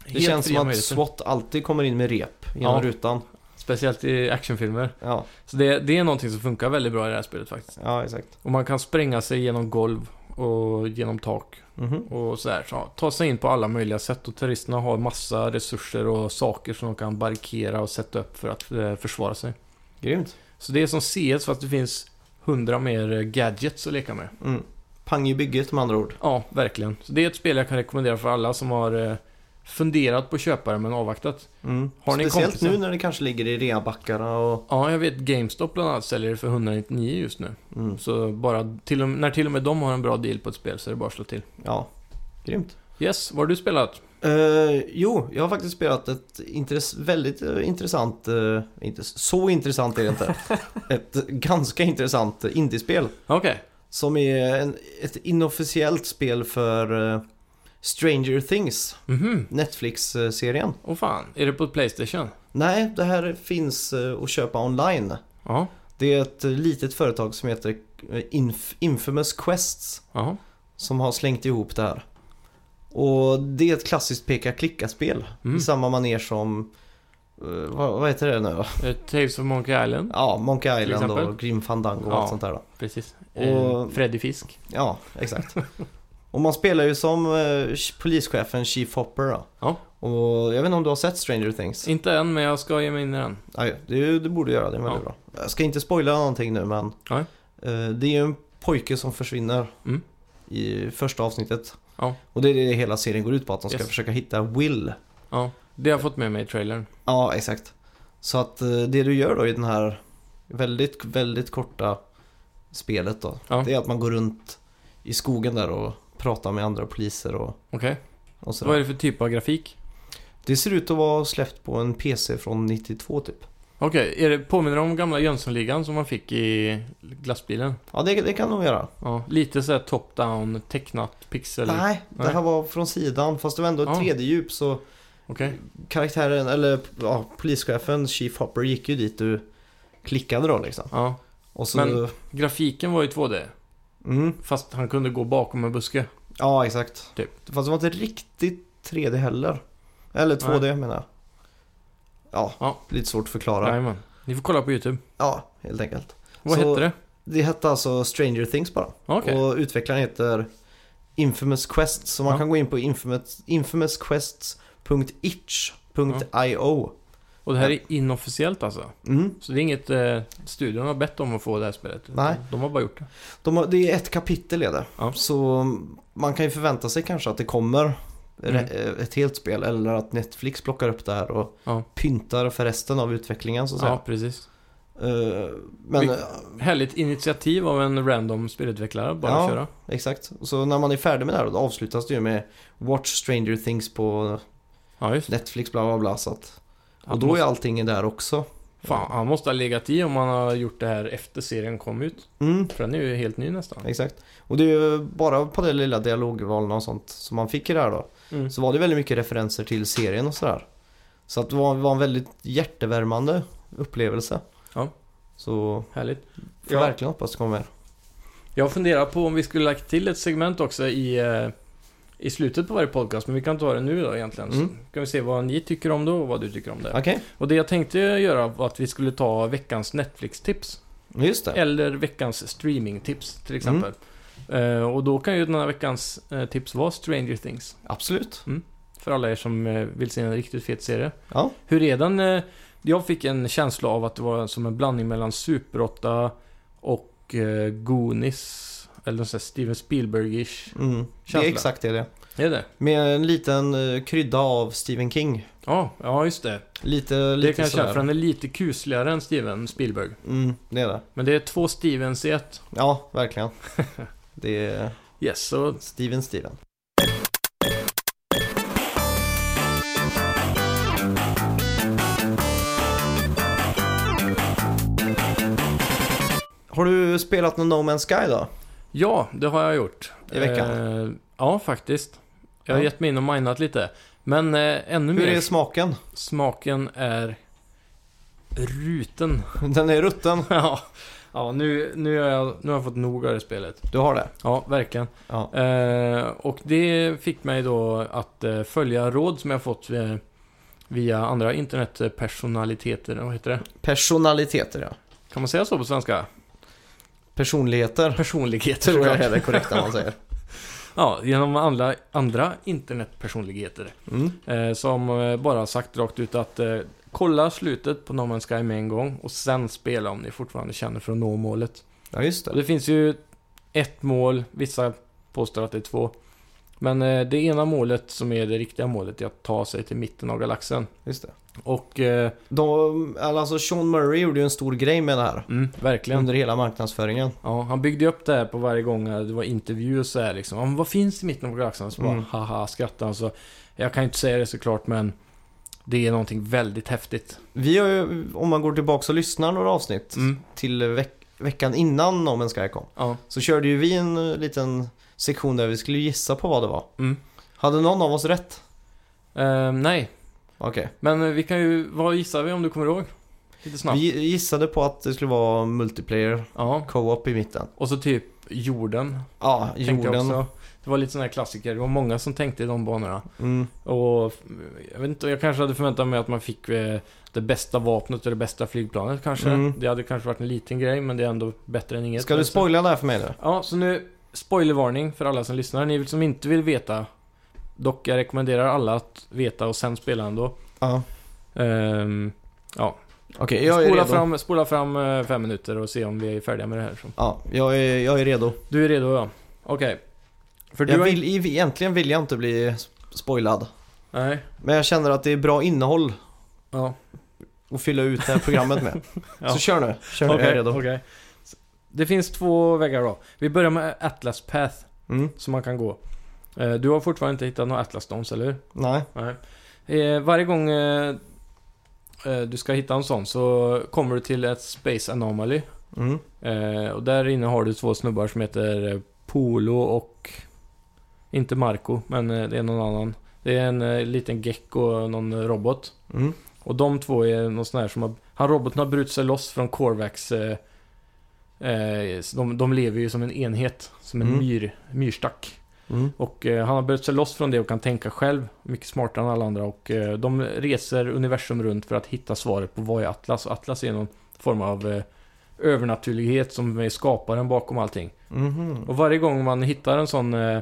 A: Det
B: Helt
A: känns
B: fria
A: som att
B: möjligheter.
A: SWAT alltid kommer in med rep genom
B: Ja.
A: rutan.
B: Speciellt i actionfilmer.
A: Ja,
B: Så det, det är någonting som funkar väldigt bra i det här spelet faktiskt.
A: ja exakt.
B: Och man kan spränga sig genom golv och genom tak
A: Mhm.
B: och sådär. Så, ja, ta sig in på alla möjliga sätt och terroristerna har massa resurser och saker som de kan barrikera och sätta upp för att eh, försvara sig.
A: Grymt.
B: Så det är som CS fast det finns hundra mer eh, gadgets att leka med.
A: Mm. Pang i bygget med andra ord.
B: Ja, verkligen. Så det är ett spel jag kan rekommendera för alla som har eh, funderat på att köpa det men avvaktat.
A: Mm.
B: Har ni
A: Speciellt
B: kompisar?
A: nu när det kanske ligger i reabackarna och...
B: Ja, jag vet GameStop bland annat säljer det för 199 just nu.
A: Mm.
B: Så bara, till och, när till och med de har en bra deal på ett spel så är det bara att slå till.
A: Ja, grymt.
B: Yes, vad har du spelat?
A: Eh, jo, jag har faktiskt spelat ett intress- väldigt eh, intressant, eh, inte så intressant är det *laughs* inte, ett ganska intressant eh, indiespel.
B: Okej.
A: Som är en, ett inofficiellt spel för eh, Stranger Things,
B: Mhm.
A: Netflix-serien.
B: Åh fan, är det på Playstation?
A: Nej, det här finns eh, att köpa online.
B: Ja.
A: Det är ett eh, litet företag som heter eh, Inf- Infamous Quests
B: Ja.
A: som har slängt ihop det här. Och det är ett klassiskt peka-klicka-spel
B: Mm.
A: i samma maner som, eh, vad, vad heter det nu då?
B: Eh, Tales of Monkey Island.
A: Ja, Monkey
B: Till
A: Island
B: exempel?
A: och Grim Fandango och
B: Ja.
A: allt sånt där då.
B: Precis. Eh,
A: Och-
B: Freddy Fisk.
A: Ja, exakt. Och man spelar ju som eh, polischefen Chief Hopper då.
B: Ja.
A: Och jag vet inte om du har sett Stranger Things?
B: Inte än, men jag ska ge mig in i den.
A: Nej, det, det borde du göra, det är väldigt bra. Jag ska inte spoila någonting nu men
B: Nej.
A: eh, det är ju en pojke som försvinner
B: Mm.
A: i första avsnittet.
B: Ja.
A: Och det är det hela serien går ut på, att de ska
B: Yes.
A: försöka hitta Will.
B: Ja. Det har jag fått med mig i trailern.
A: Ja, exakt. Så att eh, det du gör då i den här väldigt, väldigt korta spelet då.
B: Ja.
A: Det är att man går runt i skogen där och pratar med andra poliser och,
B: Okej.
A: och
B: Vad är
A: sådär.
B: det för typ av grafik?
A: Det ser ut att vara släppt på en PC från 92 typ.
B: Okej, är det påminner det om gamla Jönssonligan som man fick i glassbilen?
A: Ja, det, det kan nog göra.
B: Ja, lite sådär top-down, tecknat, pixel. Okej.
A: Nej, det här var från sidan. Fast det var ändå ett
B: Ja.
A: 3D-djup så karaktären, eller ja, polischefen, Chief Hopper, gick ju dit du klickade då liksom.
B: Ja.
A: Och så...
B: Men- Grafiken var ju 2D.
A: Mm,
B: Fast han kunde gå bakom en buske.
A: ja, exakt.
B: Typ.
A: Fast det var inte riktigt 3D heller. Eller 2D menar jag. Ja,
B: Ja.
A: lite svårt att förklara.
B: Jajamän. Ni får kolla på YouTube.
A: Ja, helt enkelt.
B: Vad
A: Så-
B: hette det?
A: Det hette alltså Stranger Things bara.
B: Okej.
A: Och utvecklaren heter Infamous Quest. Så man
B: Ja.
A: kan gå in på infamous, infamousquests.itch.io.
B: Och det här är inofficiellt alltså?
A: Mm.
B: Så det är inget eh, studion har bett om att få det här spelet? utan
A: Nej.
B: De har bara gjort det?
A: De har, det är ett kapitel är det.
B: Ja.
A: Så man kan ju förvänta sig kanske att det kommer re- ett helt spel eller att Netflix plockar upp det här och
B: Mm. Ja.
A: pyntar för resten av utvecklingen så att säga.
B: Ja, precis.
A: Eh, Men
B: Vi-
A: eh,
B: Härligt initiativ av en random spelutvecklare bara
A: Ja.
B: att köra.
A: exakt, så när man är färdig med det här då avslutas det ju med Watch Stranger Things på
B: Ja, just det.
A: Netflix bla bla bla. Så att, och
B: Han
A: då
B: måste,
A: är allting där också.
B: fan, han måste ha legat i om han har gjort det här efter serien kom ut.
A: Mm.
B: För den är ju helt ny nästan.
A: Exakt. Och det är ju bara på det lilla dialogvalen och sånt som man fick i det här då.
B: Mm.
A: Så var det väldigt mycket referenser till serien och sådär. Så att det var, var en väldigt hjärtevärmande upplevelse.
B: Ja.
A: Så
B: Härligt.
A: får
B: Ja.
A: verkligen hoppas det kommer mer.
B: Jag funderar på om vi skulle lagt till ett segment också i, eh, i slutet på varje podcast, men vi kan ta det nu då egentligen.
A: Mm.
B: Så kan vi se vad ni tycker om det och vad du tycker om det.
A: Okej,
B: Och det jag tänkte göra var att vi skulle ta veckans Netflix-tips.
A: just det.
B: Eller veckans streaming-tips till exempel. Eh, och då kan ju den här veckans eh, tips vara Stranger Things.
A: Absolut.
B: För alla er som eh, vill se en riktigt fet serie.
A: Ja.
B: Hur är den? eh, Jag fick en känsla av att det var som en blandning mellan Super 8 och eh, Goonies. Eller någon sån här Steven Spielberg-ish.
A: Mm. Det
B: Känsla.
A: är exakt det det är.
B: Är det?
A: Med en liten eh, krydda av Stephen King.
B: Ja, ja just det.
A: Lite,
B: Det
A: lite
B: kan jag känna,
A: sådär.
B: för den är lite kusligare än Steven Spielberg.
A: Mm, det är det.
B: Men det är två Stevens i ett.
A: Ja,
B: *laughs*
A: verkligen. det är
B: Yes, så
A: Steven Steven. Har du spelat någon No Man's Sky då?
B: ja, det har jag gjort.
A: I veckan?
B: Eh, ja, faktiskt. Jag har
A: Ja.
B: gett mig in och minat lite. Men eh, ännu
A: Hur
B: mer
A: är smaken?
B: smaken är ruten.
A: Den är rutten.
B: *laughs* ja, ja nu, nu, har jag, nu har jag fått nog av det spelet.
A: Du har det?
B: Ja, verkligen.
A: Ja.
B: Eh, och det fick mig då att eh, följa råd som jag fått eh, via andra internetpersonaliteter. Vad heter det?
A: Personaliteter ja.
B: Kan man säga så på svenska?
A: Personligheter
B: Personligheter.
A: tror jag
B: såklart.
A: är det korrekta man säger.
B: Ja, genom andra, andra internetpersonligheter.
A: Mm.
B: Eh, som eh, bara sagt rakt ut att eh, kolla slutet på No Man's Sky med en gång och sen spela om ni fortfarande känner för att nå målet.
A: Ja just
B: Och
A: det.
B: det finns ju ett mål, vissa påstår att det är två. Men eh, det ena målet som är det riktiga målet är att ta sig till mitten av galaxen.
A: Just det.
B: Och, eh,
A: De, alltså Sean Murray gjorde ju en stor grej med det här.
B: mm, verkligen.
A: Under hela marknadsföringen.
B: Ja, han byggde ju upp det här på varje gång eh, det var intervjuer och så här liksom. Ja, men vad finns i mitten av galaxen? Så bara,
A: Mm.
B: haha, skrattade han. Så, jag kan ju inte säga det såklart, men det är någonting väldigt häftigt.
A: Vi har ju, om man går tillbaka och lyssnar några avsnitt till veck- veckan innan No Man's Sky kom.
B: Ja,
A: Så körde ju vi en eh, liten sektion där vi skulle gissa på vad det var.
B: mm.
A: Hade någon av oss rätt?
B: Ehm, nej,
A: Okej.
B: men eh, vi kan ju... Vad gissar vi om du kommer ihåg? Lite snabbt.
A: Vi gissade på att det skulle vara multiplayer
B: Ja,
A: co-op i mitten.
B: och så typ jorden.
A: Ja,
B: tänkte jag
A: jorden.
B: också. Det var lite sådana här klassiker. Det var många som tänkte i de banorna.
A: Mm,
B: Och eh, jag vet inte, jag kanske hade förväntat mig att man fick eh, det bästa vapnet och det bästa flygplanet kanske.
A: Mm.
B: Det hade kanske varit en liten grej, men det är ändå bättre än inget.
A: Ska du
B: Alltså.
A: spoila det här för mig nu?
B: Ja, så nu spoilervarning för alla som lyssnar. Ni som inte vill veta. Dock, jag rekommenderar alla att veta och sen spela ändå.
A: Ja.
B: Ehm,
A: Okej, jag är
B: spola,
A: redo.
B: fram, spola fram eh, fem minuter och se om vi är färdiga med det här. Så.
A: Ja, jag är, jag är redo.
B: Du är redo ja. Okej. För du
A: Jag
B: har
A: vill,
B: inte-
A: i- Egentligen vill jag inte bli spoilad.
B: Nej.
A: Men jag känner att det är bra innehåll
B: Ja.
A: att fylla ut det här programmet med.
B: *laughs* Ja.
A: Så kör nu. Kör nu, jag är
B: Okej.
A: redo.
B: okej. det finns två vägar då. Vi börjar med Atlas Path
A: Mm.
B: som man kan gå. Eh, Du har fortfarande inte hittat några Atlas Stones, eller hur?
A: Nej.
B: Nej. Eh, Varje gång eh, eh, du ska hitta en sån så kommer du till ett Space Anomaly.
A: Mm.
B: Eh, Och där inne har du två snubbar som heter eh, Polo och... Inte Marco, men eh, det är någon annan. Det är en eh, liten gecko och någon eh, robot.
A: Mm.
B: Och de två är någon sån här som har... Han roboten har brutit sig loss från Corvax. Eh, eh, så de, de lever ju som en enhet. Som en
A: Mm.
B: myr, myrstack.
A: Mm.
B: Och eh, han har börjat sig loss från det och kan tänka själv. Mycket smartare än alla andra. Och eh, de reser universum runt för att hitta svaret på vad är Atlas. Och Atlas är någon form av eh, övernaturlighet som är skaparen bakom allting.
A: Mhm.
B: Och varje gång man hittar en sån... Eh,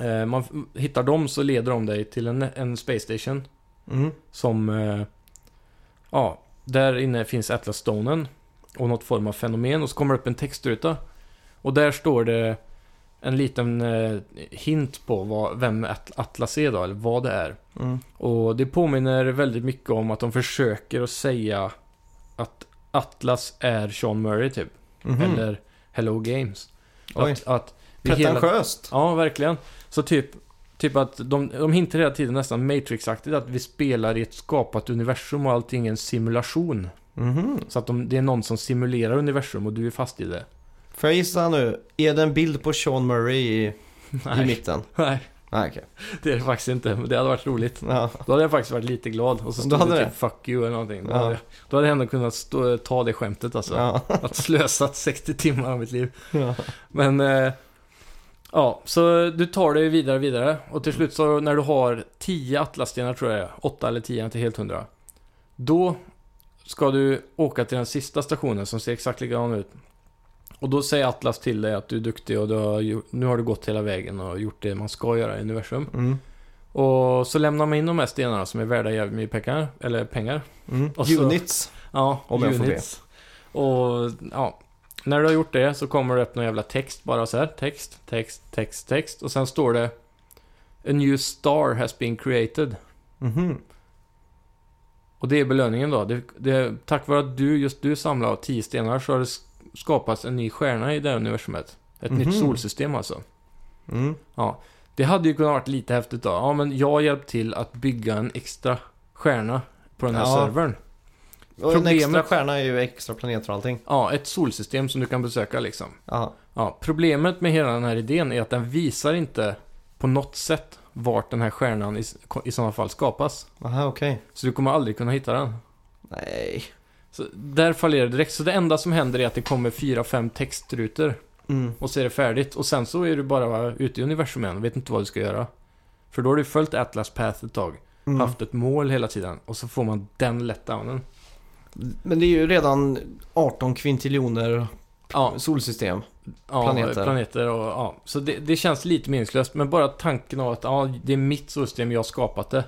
B: eh, man f- hittar dem så leder de dig till en, en space station.
A: Mm.
B: Som... Eh, ja, där inne finns Atlas-stonen. Och något form av fenomen. Och så kommer det upp en textruta. Och där står det en liten eh, hint på vad, vem At- Atlas är då, eller vad det är.
A: Mm.
B: Och det påminner väldigt mycket om att de försöker att säga att Atlas är Sean Murray typ.
A: Mhm.
B: Eller Hello Games.
A: Oj.
B: Att, att vi hela-
A: Pretentiöst.
B: Ja, verkligen. Så typ, typ att de, de hintar hela tiden nästan Matrix-aktigt att vi spelar i ett skapat universum och allting är en simulation.
A: Mhm.
B: Så att de, det är någon som simulerar universum och du är fast i *laughs* det.
A: Får jag gissa nu? Är det en bild på Sean Murray i, i mitten?
B: nej,
A: Nej, okej.
B: det är det faktiskt inte. Men det hade varit roligt.
A: Ja.
B: Då hade jag faktiskt varit lite glad. Och så
A: Då
B: stod
A: hade
B: det
A: det?
B: typ 'fuck you' eller någonting. Då,
A: Ja.
B: hade, jag- då hade jag ändå kunnat stå, ta det skämtet alltså.
A: Ja.
B: Att slösat 60 timmar av mitt liv.
A: Ja.
B: Men... Eh, ja, så du tar dig vidare och vidare. Och till slut så när du har 10 atlasstenar tror jag det är, 8 eller 10, inte helt hundra. Då ska du åka till den sista stationen som ser exakt likadan ut. Och då säger Atlas till dig att du är duktig och du har, gjort- nu har du gått hela vägen och gjort det man ska göra i universum.
A: Mm.
B: Och så lämnar man in de här stenarna som är värda jävligt mycket pengar. Eller pengar.
A: Mm.
B: Och så-
A: Units.
B: Ja,
A: Om jag får
B: units. Och ja, när du har gjort det så kommer det upp någon jävla text bara så här. Text, text, text, text. Och sen står det A new star has been created.
A: Mhm.
B: Och det är belöningen då. Det, det, tack vare att du, just du samlar tio stenar så har det sk- skapats en ny stjärna i det här universumet. Ett
A: Mhm.
B: nytt solsystem alltså.
A: Mm.
B: Ja, det hade ju kunnat varit lite häftigt då. Ja, men jag hjälpte till att bygga en extra stjärna på den här
A: Ja.
B: servern.
A: Och en extra
B: Problemet-
A: stjärna är ju extra planeter och allting.
B: Ja, ett solsystem som du kan besöka liksom.
A: Ja.
B: Ja, problemet med hela den här idén är att den visar inte på något sätt vart den här stjärnan i, i sådana fall skapas.
A: Aha, okej.
B: Så du kommer aldrig kunna hitta den.
A: Nej.
B: Så där fallerar det direkt. Så det enda som händer är att det kommer fyra, fem textrutor
A: Mm.
B: och så är det färdigt. Och sen så är du bara ute i universum igen och vet inte vad du ska göra. För då har du följt Atlas Path ett tag,
A: Mm.
B: haft ett mål hela tiden och så får man den letdownen.
A: Men det är ju redan 18 kvintiljoner
B: Ja,
A: solsystem.
B: ja,
A: Planeter.
B: planeter och ja. Så det, det känns lite meningslöst, men bara tanken av att ja, det är mitt solsystem, jag har skapat det.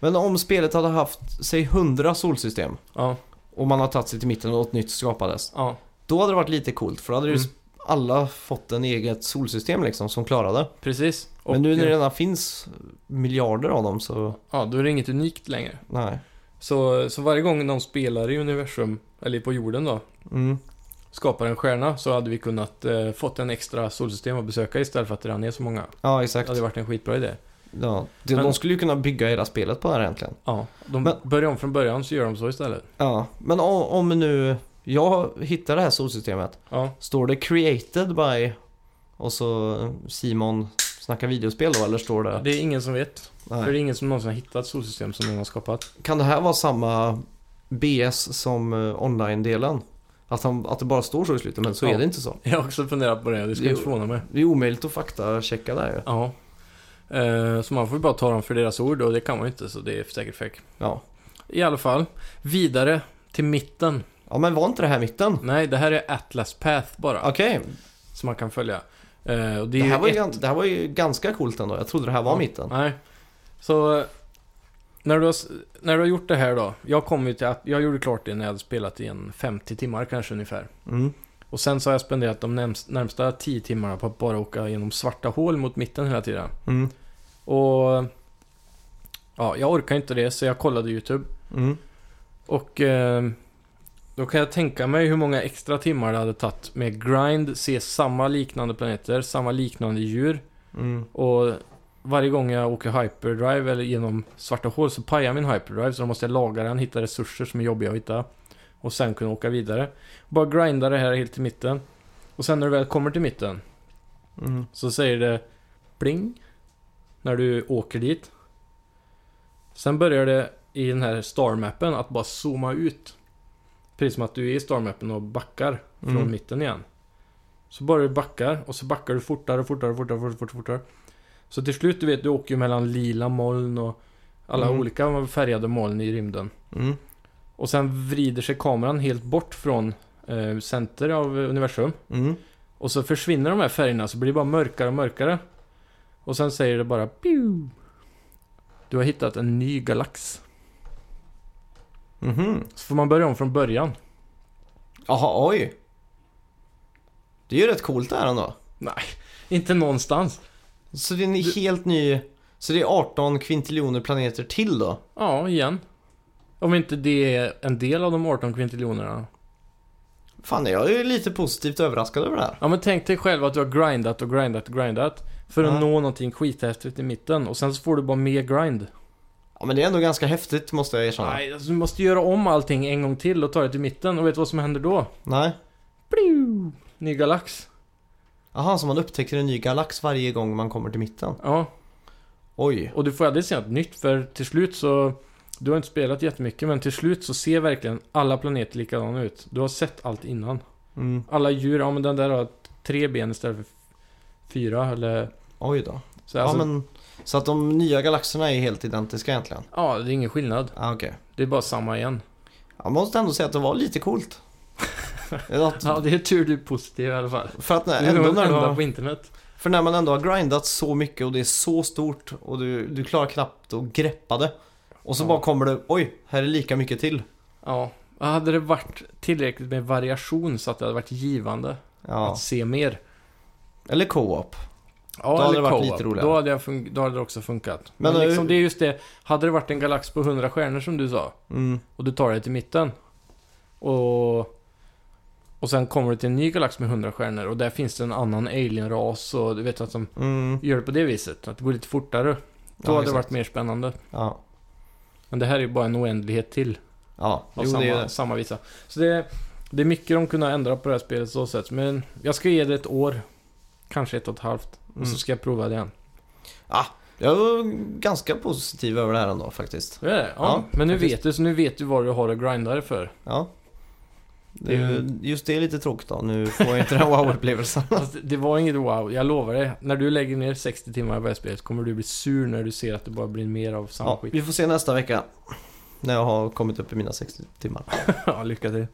A: Men om spelet hade haft, säg 100 solsystem
B: Ja,
A: och man har tagit sig till mitten och något nytt skapades.
B: ja.
A: Då hade det varit lite coolt för då hade ju
B: Mm.
A: alla fått en eget solsystem liksom som klarade.
B: Precis. Och,
A: Men nu när det redan finns miljarder av dem så,
B: Ja, då är det inget unikt längre.
A: nej.
B: Så, så varje gång någon spelare i universum, eller på jorden då,
A: Mm.
B: skapar en stjärna så hade vi kunnat eh, fått en extra solsystem att besöka istället för att det redan är så många.
A: Ja,
B: Det
A: exakt.
B: hade varit en skitbra idé.
A: Ja. De, de
B: Men-
A: skulle ju kunna bygga hela spelet på det här egentligen.
B: Ja, de
A: Men-
B: börjar om från början så gör de så istället.
A: Ja, men om, om nu jag hittar det här solsystemet.
B: Ja,
A: Står det created by och så Simon snackar videospel då eller står det?
B: det är ingen som vet. För
A: Nej.
B: det är ingen som någonsin har hittat solsystem som någon har skapat. *laughs*
A: Kan det här vara samma BS som eh, online-delen? Att, han, att det bara står så i slutet men så
B: Ja.
A: är det inte så.
B: Jag har också funderat på det, det ska
A: Jo.
B: inte förvåna mig.
A: Det är omöjligt att faktachecka där ju.
B: Ja. Eh, så man får ju bara ta dem för deras ord och det kan man ju inte så det är säkert fake.
A: Ja.
B: I alla fall, vidare till mitten.
A: ja, men var inte det här mitten?
B: Nej, det här är Atlas Path bara,
A: Okej,
B: som man kan följa. Eh, och
A: det,
B: det, är
A: här
B: ju
A: var ju
B: ett-
A: gan- det här var ju ganska coolt ändå. Jag trodde det här var
B: Ja.
A: mitten.
B: Nej. Så, eh, när du, har, s- när du har gjort det här då. Jag kom ju till att, jag gjorde klart det när jag hade spelat i en 50 timmar kanske ungefär.
A: Mm.
B: Och sen så har jag spenderat de närmst, närmsta 10 timmarna på att bara åka genom svarta hål mot mitten hela tiden.
A: Mm.
B: Och, ja, jag orkar inte det så jag kollade YouTube.
A: Mm.
B: Och eh, Då kan jag tänka mig hur många extra timmar det hade tagit med grind, se samma liknande planeter, samma liknande djur.
A: Mm.
B: Och varje gång jag åker hyperdrive eller genom svarta hål så pajar min hyperdrive. Så då måste jag laga den, hitta resurser som är jobbiga att hitta. Och sen kunna åka vidare. Bara grinda det här helt till mitten. Och sen när du väl kommer till mitten
A: Mm.
B: så säger det pling. När du åker dit. Sen börjar det i den här starmappen att bara zooma ut. Precis som att du är i starmappen och backar från
A: Mm.
B: mitten igen. Så bara du backar och så backar du fortare och fortare och fortare, fortare, fortare, fortare. Så till slut, du vet, du åker ju mellan lila moln och alla
A: Mm.
B: olika färgade moln i rymden.
A: Mm.
B: Och sen vrider sig kameran helt bort från eh, center av universum.
A: Mm.
B: Och så försvinner de här färgerna så blir det bara mörkare och mörkare. Och sen säger det bara Pew! Du har hittat en ny galax.
A: Mhm.
B: Så får man börja om från början.
A: Jaha, oj. Det är ju rätt coolt det här ändå.
B: Inte någonstans.
A: Så det är en helt ny... Så det är 18 kvintiljoner planeter till då?
B: Ja, igen. Om inte det är en del av de 18 kvintiljonerna.
A: Fan, jag är ju lite positivt överraskad över det här.
B: Ja men tänk dig själv att du har grindat och grindat och grindat. För att
A: Ja.
B: nå någonting skithäftigt i mitten. Och sen så får du bara mer grind.
A: Ja, men det är ändå ganska häftigt måste jag erkänna.
B: Nej, alltså, du måste göra om allting en gång till och ta det till mitten. Och vet du vad som händer då?
A: Nej.
B: Pew! Ny galax.
A: Aha, så man upptäcker en ny galax varje gång man kommer till mitten?
B: Ja,
A: Oj.
B: Och du får aldrig se något nytt för till slut så Du har inte spelat jättemycket men till slut så ser verkligen alla planeter likadana ut. Du har sett allt innan.
A: Mm.
B: Alla djur, ja men den där har tre ben istället för f- fyra eller
A: Oj då.
B: så alltså,
A: Ja, men, så att de nya galaxerna är helt identiska egentligen?
B: ja, det är ingen skillnad.
A: Ah, okej.
B: Det är bara samma igen.
A: Jag måste ändå säga att det var lite
B: *laughs*
A: coolt. att,
B: Ja, det är tur du är positiv i alla fall.
A: för, att
B: Du
A: när,
B: är
A: ändå
B: nog
A: när
B: den enda
A: man,
B: på internet.
A: för när man ändå har grindat så mycket och det är så stort och du, du klarar knappt att greppa det. Och så
B: Ja.
A: bara kommer det, oj, här är lika mycket till.
B: Ja. Hade det varit tillräckligt med variation så att det hade varit givande
A: Ja.
B: att se mer.
A: Eller co-op.
B: Ja,
A: hade
B: eller
A: det varit
B: co-op.
A: lite roligare.
B: Då hade, jag fun- då hade det också funkat.
A: Men
B: Men,
A: nu-
B: liksom, det är just det. Hade det varit en galax på 100 stjärnor som du sa.
A: Mm.
B: Och du tar dig till mitten. Och, och sen kommer du till en ny galax med 100 stjärnor. Och där finns det en annan alienras. Och du vet att de
A: Mm.
B: gör det på det viset. Att det går lite fortare. Då hade det
A: exakt.
B: varit mer spännande.
A: Ja.
B: Men det här är ju bara en oändlighet till.
A: Ja,
B: Av
A: jo,
B: samma,
A: det är det.
B: samma visa. Så det, det är mycket de kunde ändra på det här spelet så sätt. Men jag ska ge det ett år. Kanske ett och ett halvt.
A: Mm.
B: Och så ska jag prova det igen.
A: Jag var ganska positiv över det här ändå faktiskt.
B: Det är det. Ja,
A: Ja,
B: men nu
A: faktiskt.
B: vet du, så nu vet du vad du har att grinda dig *laughs* för.
A: Ja.
B: Det är ju-
A: Just det är lite tråkigt då. Nu får jag inte den wow-upplevelsen.
B: Fast Alltså, det- det var inget wow, jag lovar dig. När du lägger ner 60 timmar i varje spel så kommer du bli sur när du ser att det bara blir mer av samma
A: Ja,
B: skit.
A: vi får se nästa vecka. När jag har kommit upp i mina 60 timmar.
B: *laughs* ja, lycka till.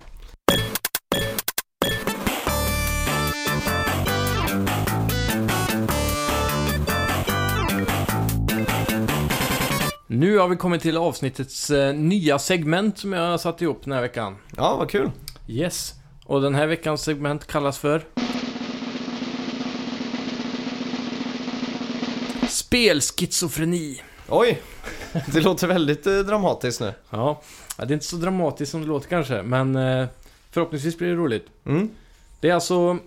B: Nu har vi kommit till avsnittets eh, nya segment som jag har satt ihop den här veckan.
A: Ja, vad kul.
B: Yes, och den här veckans segment kallas för... Spelschizofreni.
A: Oj! Det låter väldigt eh, dramatiskt nu.
B: Ja, ja, det är inte så dramatiskt som det låter kanske, men eh, förhoppningsvis blir det roligt.
A: Mm.
B: Det är alltså...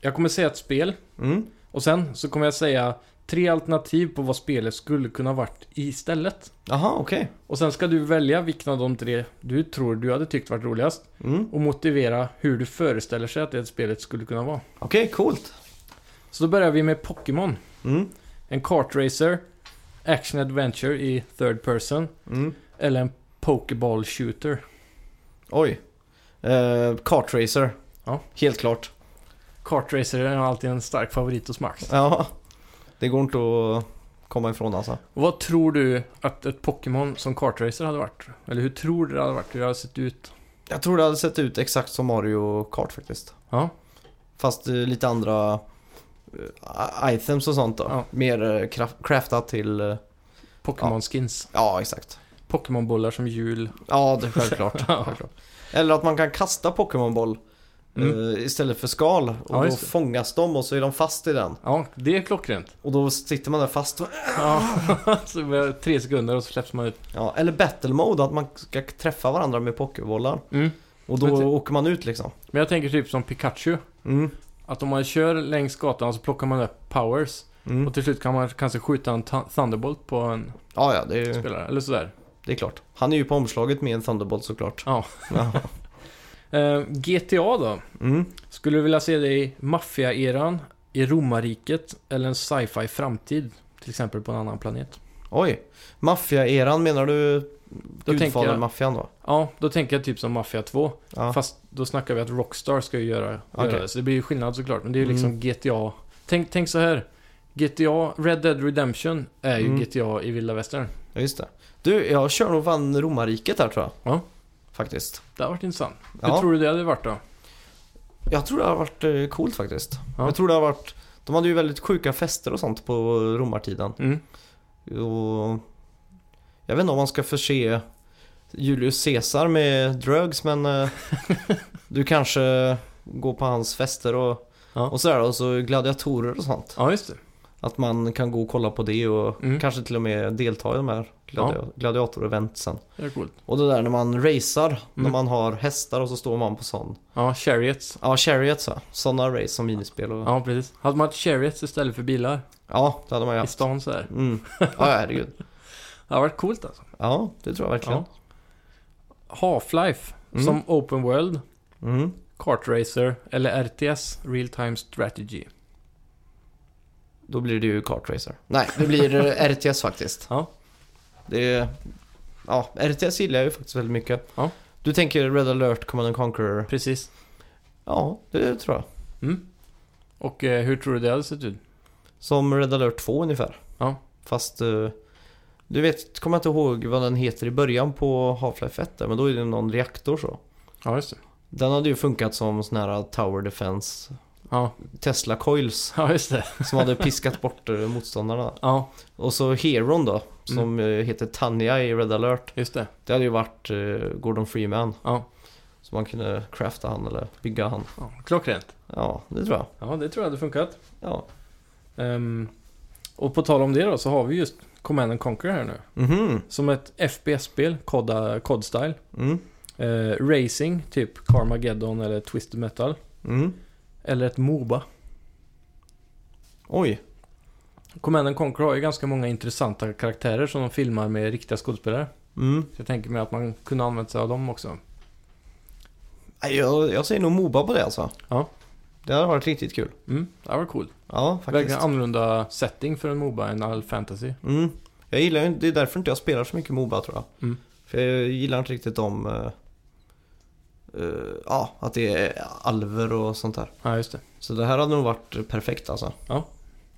B: Jag kommer säga ett spel,
A: Mm.
B: och sen så kommer jag säga tre alternativ på vad spelet skulle kunna varit istället.
A: Jaha, okej.
B: Och sen ska du välja vilken av de tre du tror du hade tyckt varit roligast
A: Mm.
B: och motivera hur du föreställer sig att det spelet skulle kunna vara.
A: Okej, coolt.
B: Så då börjar vi med Pokémon.
A: Mm.
B: En kartracer, action adventure i third person
A: Mm.
B: eller en pokeball shooter.
A: Oj. Eh, kartracer.
B: Ja.
A: Helt klart.
B: Kartracer är alltid en stark favorit hos Max.
A: Ja. Det går inte att komma ifrån alltså.
B: Och vad tror du att ett Pokémon som kartracer hade varit? Eller hur tror du det hade varit? Hur det hade sett ut?
A: Jag tror det hade sett ut exakt som Mario Kart faktiskt.
B: Ja,
A: Fast eh, lite andra eh, items och sånt då.
B: Ja.
A: Mer eh, kraf- craftat till... eh,
B: Pokémon-skins.
A: ja, exakt.
B: Pokémon-bollar som hjul.
A: Ja, det är självklart.
B: *laughs* Ja.
A: självklart. Eller att man kan kasta Pokémonboll
B: Mm.
A: eh, istället för skal. Och
B: Ja,
A: då
B: just det.
A: fångas de och så är de fast i den.
B: Ja, det är klockrent.
A: Och då sitter man där fast. Och,
B: Ja, *laughs* så vi har tre sekunder och så släpps man ut.
A: ja, eller battle mode, att man ska träffa varandra med Pokébollar.
B: Mm.
A: Och då
B: Men ty-
A: åker man ut liksom.
B: Men jag tänker typ som Pikachu.
A: Mm.
B: Att om man kör längs gatan så plockar man upp powers.
A: Mm.
B: Och till slut kan man kanske skjuta en ta- Thunderbolt på en
A: Ja, ja, det är, ju-
B: spelare. Eller sådär.
A: det är klart. Han är ju på omslaget med en Thunderbolt såklart.
B: Ja.
A: Ja.
B: Eh, GTA då?
A: Mm.
B: Skulle du vilja se dig i maffia-eran, i romarriket eller en sci-fi framtid? Till exempel på en annan planet.
A: Oj. Maffia-eran menar du?
B: Då tänker jag-
A: Gudfadern-maffian då?
B: Ja, då tänker jag typ som Mafia 2.
A: Ja.
B: Fast då snackar vi att Rockstar ska ju göra,
A: Okej.
B: göra det, så det blir ju skillnad såklart. Men det är ju liksom
A: Mm.
B: GTA. Tänk, tänk så här. GTA, Red Dead Redemption är ju
A: Mm.
B: GTA i vilda västern.
A: Ja, just det. Du, jag kör nog fan romarriket här tror jag.
B: Ja.
A: Faktiskt.
B: Det har varit intressant. Hur
A: Ja.
B: tror du det hade varit då?
A: Jag tror det har varit eh, coolt faktiskt.
B: Ja.
A: Jag tror det har varit... De hade ju väldigt sjuka fester och sånt på romartiden.
B: Mm.
A: Och... Jag vet inte om man ska förse Julius Caesar med drugs men eh,
B: *laughs*
A: du kanske går på hans fester och,
B: Ja.
A: och sådär och så gladiatorer och sånt.
B: Ja, just det.
A: Att man kan gå och kolla på det och
B: Mm.
A: kanske till och med delta i de här gladi- gladiatoreventsen.
B: Det är coolt.
A: Och det där när man racear, när
B: Mm.
A: man har hästar och så står man på sån.
B: Ja, Chariots.
A: Ja, chariots va? Sådana race som minispel och... Ja,
B: Ja, precis. Hade man haft Chariots istället för bilar
A: det hade man ju
B: i
A: haft.
B: stan så här.
A: Mm. Ja, herregud.
B: Det har varit coolt alltså.
A: Ja, det tror jag verkligen.
B: Half-Life
A: Mm.
B: som Open World,
A: Mm.
B: Kartracer eller RTS, Real Time Strategy.
A: Då blir det ju kartracer. Nej, det
B: *laughs*
A: blir eh, RTS faktiskt.
B: Ja.
A: Det är... Ja, RTS gillar jag ju faktiskt väldigt mycket.
B: Ja.
A: Du tänker Red Alert, Command and Conquer?
B: Precis.
A: Ja, det tror jag.
B: Mm. Och eh, hur tror du det hade sett ut?
A: Som Red Alert 2 ungefär.
B: Ja.
A: Fast... eh, Du vet, kommer jag inte ihåg vad den heter i början på Half-Life 1 där, men då är det någon reaktor så.
B: Ja, just det.
A: Den hade ju funkat som sån här Tower Defense
B: Ja,
A: Tesla Coils
B: *laughs* ja just det.
A: som hade piskat bort eh, motståndarna.
B: Ja,
A: Och så Heron
B: Mm.
A: då, som eh, heter Tanya i Red Alert.
B: just det.
A: Det hade ju varit eh, Gordon Freeman.
B: Ja.
A: Så man kunde crafta han eller bygga han.
B: Ja, klockrent.
A: Ja, det tror jag.
B: Ja, det tror jag hade funkat.
A: Ja.
B: Ehm, och på tal om det då, så har vi just Command and Conquer här nu.
A: Mhm.
B: Som ett FPS-spel, COD-style. cod style.
A: Mm.
B: Eh, racing, typ Carmageddon eller Twisted Metal.
A: Mm.
B: Eller ett Moba.
A: Oj.
B: Command and Conquer har ju ganska många intressanta karaktärer som de filmar med riktiga skådespelare.
A: Mm.
B: Så jag tänker mig att man kunde använda sig av dem också.
A: Nej, Jag, jag säger nog Moba på det alltså.
B: Ja.
A: Det hade varit riktigt kul.
B: Mm, det var coolt.
A: Ja, faktiskt.
B: Verkligen annorlunda setting för en Moba än all fantasy.
A: Mm. Jag gillar ju inte, det är därför inte jag spelar så mycket Moba tror jag.
B: Mm.
A: För jag gillar inte riktigt de... eh, eh, ja, att det är alver och sånt där.
B: Ja, just det.
A: Så det här hade nog varit perfekt alltså.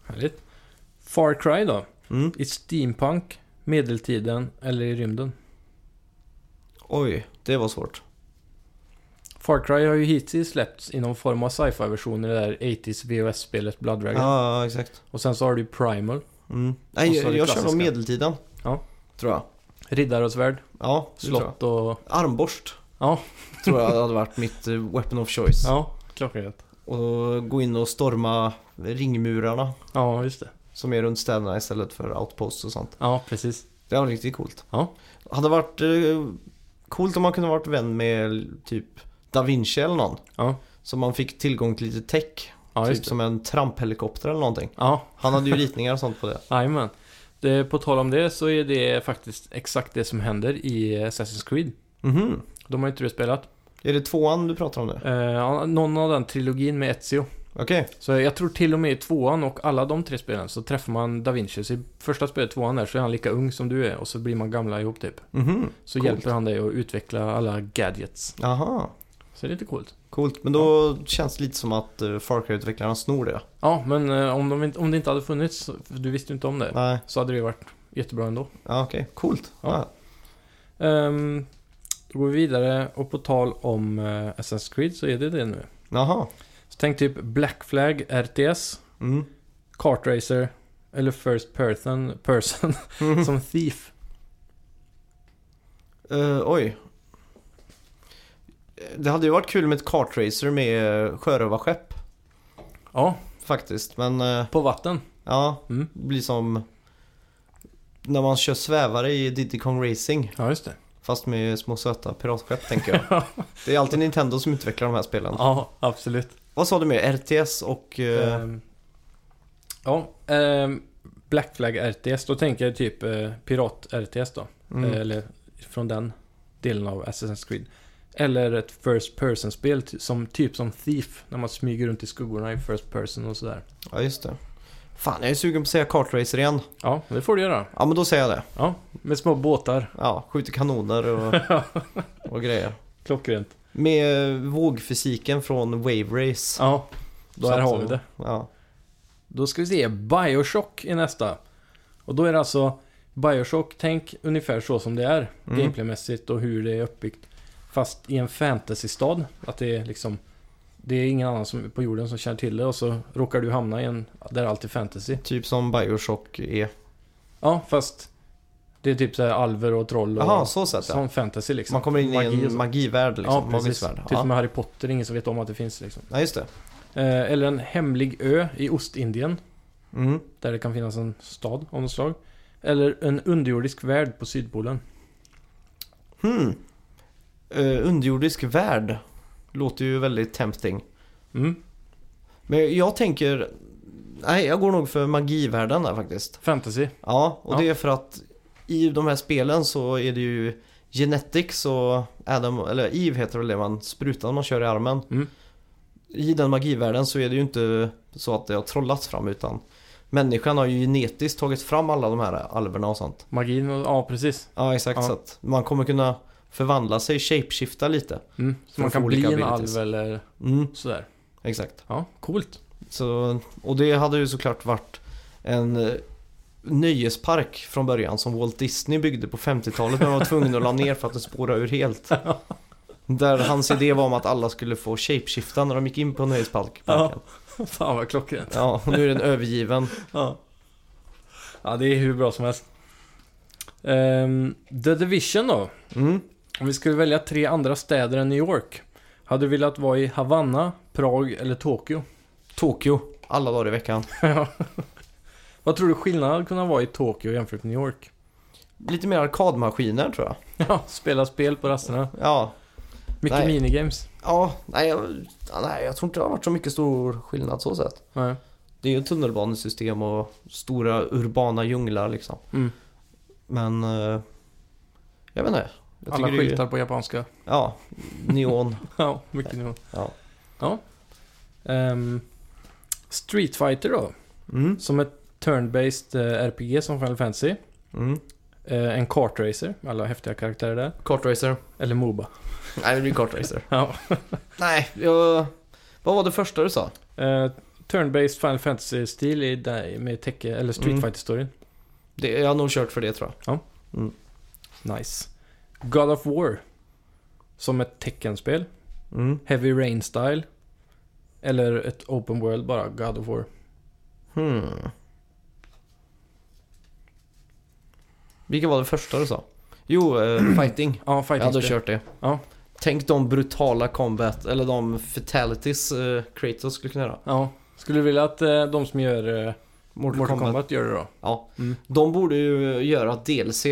B: Härligt. Far Cry då?
A: Mm.
B: I steampunk, medeltiden eller i rymden?
A: Oj, det var svårt.
B: Far Cry har ju hittills släppts i någon form av sci-fi-version i det där 80s VHS-spelet Blood
A: Ja,
B: Dragon.
A: ja, exakt.
B: Och sen så har du ju Primal,
A: Mm.
B: Och
A: Nej,
B: så är
A: jag,
B: det
A: jag kör nog
B: klassiska.
A: medeltiden.
B: Ja.
A: Tror jag.
B: Riddare och svärd,
A: Ja, det tror jag.
B: slott och...
A: Armborst.
B: Ja.
A: Tror jag hade
B: *laughs*
A: varit mitt eh, weapon of choice.
B: Ja, klockrent.
A: Och gå in och storma ringmurarna
B: Ja, just det.
A: som är runt städerna istället för outposts och sånt.
B: Ja, precis.
A: Det var riktigt coolt.
B: Ja.
A: Hade varit eh, coolt om man kunde varit vän med typ Da Vinci eller någon.
B: Ja.
A: Så man fick tillgång till lite tech.
B: Ja,
A: typ
B: just det.
A: som en tramphelikopter eller någonting.
B: Ja,
A: Han hade ju ritningar och sånt på det.
B: jajamän. Det- På tal om det så är det faktiskt exakt det som händer i Assassin's Creed.
A: Mhm.
B: De har ju inte det spelat.
A: Är det tvåan du pratar om nu?
B: Eh, ja, någon av den trilogin med Ezio.
A: Okej.
B: Så jag tror till och med i tvåan och alla de tre spelen så träffar man Da Vinci. Så i första spelet, tvåan där, så är han lika ung som du är och så blir man gamla ihop typ.
A: Mhm.
B: Så
A: Coolt.
B: hjälper han dig att utveckla alla gadgets.
A: Aha.
B: Så det är lite coolt.
A: Coolt. Men då känns det lite som att eh, Far Cry-utvecklarna snor det.
B: Ja, men eh, om, de inte, om det inte hade funnits, så- för du visste ju inte om det,
A: Nej.
B: så hade det ju varit jättebra ändå.
A: Ja, okej. Coolt.
B: Ja.
A: Ja.
B: Um, då går vi vidare och på tal om uh, Assassin's Creed så är det det nu.
A: Jaha.
B: Så tänk typ Black Flag, RTS,
A: Mm.
B: Kartracer eller First Person, person *laughs*
A: Mhm.
B: som Thief.
A: Eh, oj. Det hade ju varit kul med ett kartracer med eh, sjörövarskepp
B: Ja,
A: faktiskt. Men eh,
B: på vatten.
A: Ja,
B: Mm.
A: det blir som när man kör svävare i Diddy Kong Racing.
B: Ja, just det.
A: Fast med små söta piratskepp tänker
B: *laughs*
A: jag. Det är alltid Nintendo som utvecklar de här spelen.
B: Ja, absolut.
A: Vad sa du mer? RTS och... eh,
B: Ehm, ja, ehm, Black Flag RTS. Då tänker jag typ eh, Pirat RTS då.
A: mm.
B: Eh, Eller från den delen av Assassin's Creed. Eller ett First Person-spel ty- som typ som Thief. När man smyger runt i skuggorna i First Person och sådär.
A: Ja, just det. Fan, jag är sugen på att säga kartracer igen.
B: Ja, det får du göra.
A: Ja, men då säger jag det.
B: Ja, med små båtar.
A: Ja, skjuter kanoner
B: *laughs*
A: och, och grejer.
B: Klockrent.
A: Med eh, vågfysiken från Wave Race.
B: Ja,
A: Så
B: där
A: att,
B: har vi det.
A: Ja.
B: Då ska vi se, Bioshock är nästa. Och då är det alltså Bioshock, tänk ungefär så som det är
A: Mm.
B: gameplaymässigt och hur det är uppbyggt. Fast i en fantasystad. Att det är liksom Det är ingen annan som, på jorden som känner till det och så råkar du hamna i en där allt är fantasy.
A: Typ som Bioshock E. är.
B: Ja, fast det är typ så här alver och troll och
A: Jaha, så sett ja.
B: som fantasy liksom.
A: Man kommer in
B: Magi
A: i
B: och
A: en
B: så.
A: magivärld liksom.
B: Ja,
A: magisk
B: precis.
A: värld.
B: Typ som
A: Ja.
B: med Harry Potter, ingen som vet om att det finns liksom.
A: ja, just det.
B: Eh, eller en hemlig ö i Ostindien.
A: Mm.
B: Där det kan finnas en stad av något slag. Eller en underjordisk värld på Sydpolen.
A: Hmm. Eh, underjordisk värld. Låter ju väldigt tempting.
B: Mm.
A: Men jag tänker... Nej, jag går nog för magivärlden där faktiskt.
B: Fantasy.
A: Ja, och
B: Ja.
A: det är för att i de här spelen så är det ju Genetics och Adam, eller Eve heter väl det man, sprutan man kör i armen.
B: Mm.
A: I den magivärlden så är det ju inte så att det har trollats fram utan människan har ju genetiskt tagit fram alla de här alverna och sånt.
B: Magin och... Ja, precis.
A: Ja, exakt.
B: Ja.
A: Så att man kommer kunna förvandla sig, shapeshifta lite.
B: Mm. Så
A: För
B: man
A: att få
B: kan bli
A: olika
B: en
A: abilities.
B: alv eller
A: Mm,
B: sådär.
A: exakt.
B: Ja, coolt. *laughs*
A: Så, och det hade ju såklart varit en eh, nöjespark från början som Walt Disney byggde på 50-talet när de var tvungna att la ner för att den spårade ur helt. Där hans idé var om att alla skulle få shapeshifta när de gick in på nöjesparken.
B: Fan vad klockrent.
A: Ja, och nu är den övergiven.
B: Ja. ja, det är hur bra som helst. Ehm, The Division då.
A: Mm.
B: Om vi skulle välja tre andra städer än New York. Hade du velat vara i Havanna, Prag eller Tokyo? *laughs*
A: Tokyo, alla dagar i veckan.
B: Ja. Vad tror du skillnaden hade kunnat vara i Tokyo jämfört med New York? *laughs*
A: Lite mer arkadmaskiner tror jag.
B: Ja, spela spel på rasterna.
A: Ja,
B: Mycket
A: Nej.
B: minigames.
A: ja nej, jag, ja, nej, jag tror inte det har varit så mycket stor skillnad så sett.
B: Nej.
A: Det är ju ett tunnelbanesystem och stora urbana djunglar liksom.
B: Mm.
A: Men... eh, jag vet inte. Jag
B: Alla
A: tycker det är-
B: skyltar på japanska.
A: Ja, neon.
B: Ja, *laughs* mycket nu.
A: ja.
B: Ehm, Street Fighter då.
A: Mm,
B: Som ett turn-based eh, RPG som Final Fantasy.
A: mm.
B: Eh, en kartracer med alla häftiga karaktärer där.
A: Kartracer.
B: Eller Moba.
A: Nej, det blir
B: *laughs*
A: kartracer.
B: Ja.
A: Nej, jag... Vad var det första du sa?
B: Eh, turn-based Final Fantasy-stil i där med tecke, eller Street
A: Mm.
B: Fighter-storyn.
A: Det, jag har nog kört för det tror jag.
B: Nice. God of War. Som ett teckenspel.
A: Mm.
B: Heavy Rain-style. Eller ett Open World bara, God of War.
A: Hmm. Vilka var det första du sa? Jo,
B: *clears throat*
A: eh, fighting.
B: Ja,
A: Jag hade
B: fighting-spel.
A: kört det.
B: Ja.
A: Tänk de brutala combat, eller de fatalities eh, Kratos skulle kunna göra.
B: Ja. Skulle du vilja att eh, de som gör eh,
A: Mortal,
B: Mortal
A: Kombat.
B: Kombat. gör det då?
A: Ja.
B: Mm.
A: De borde ju göra DLC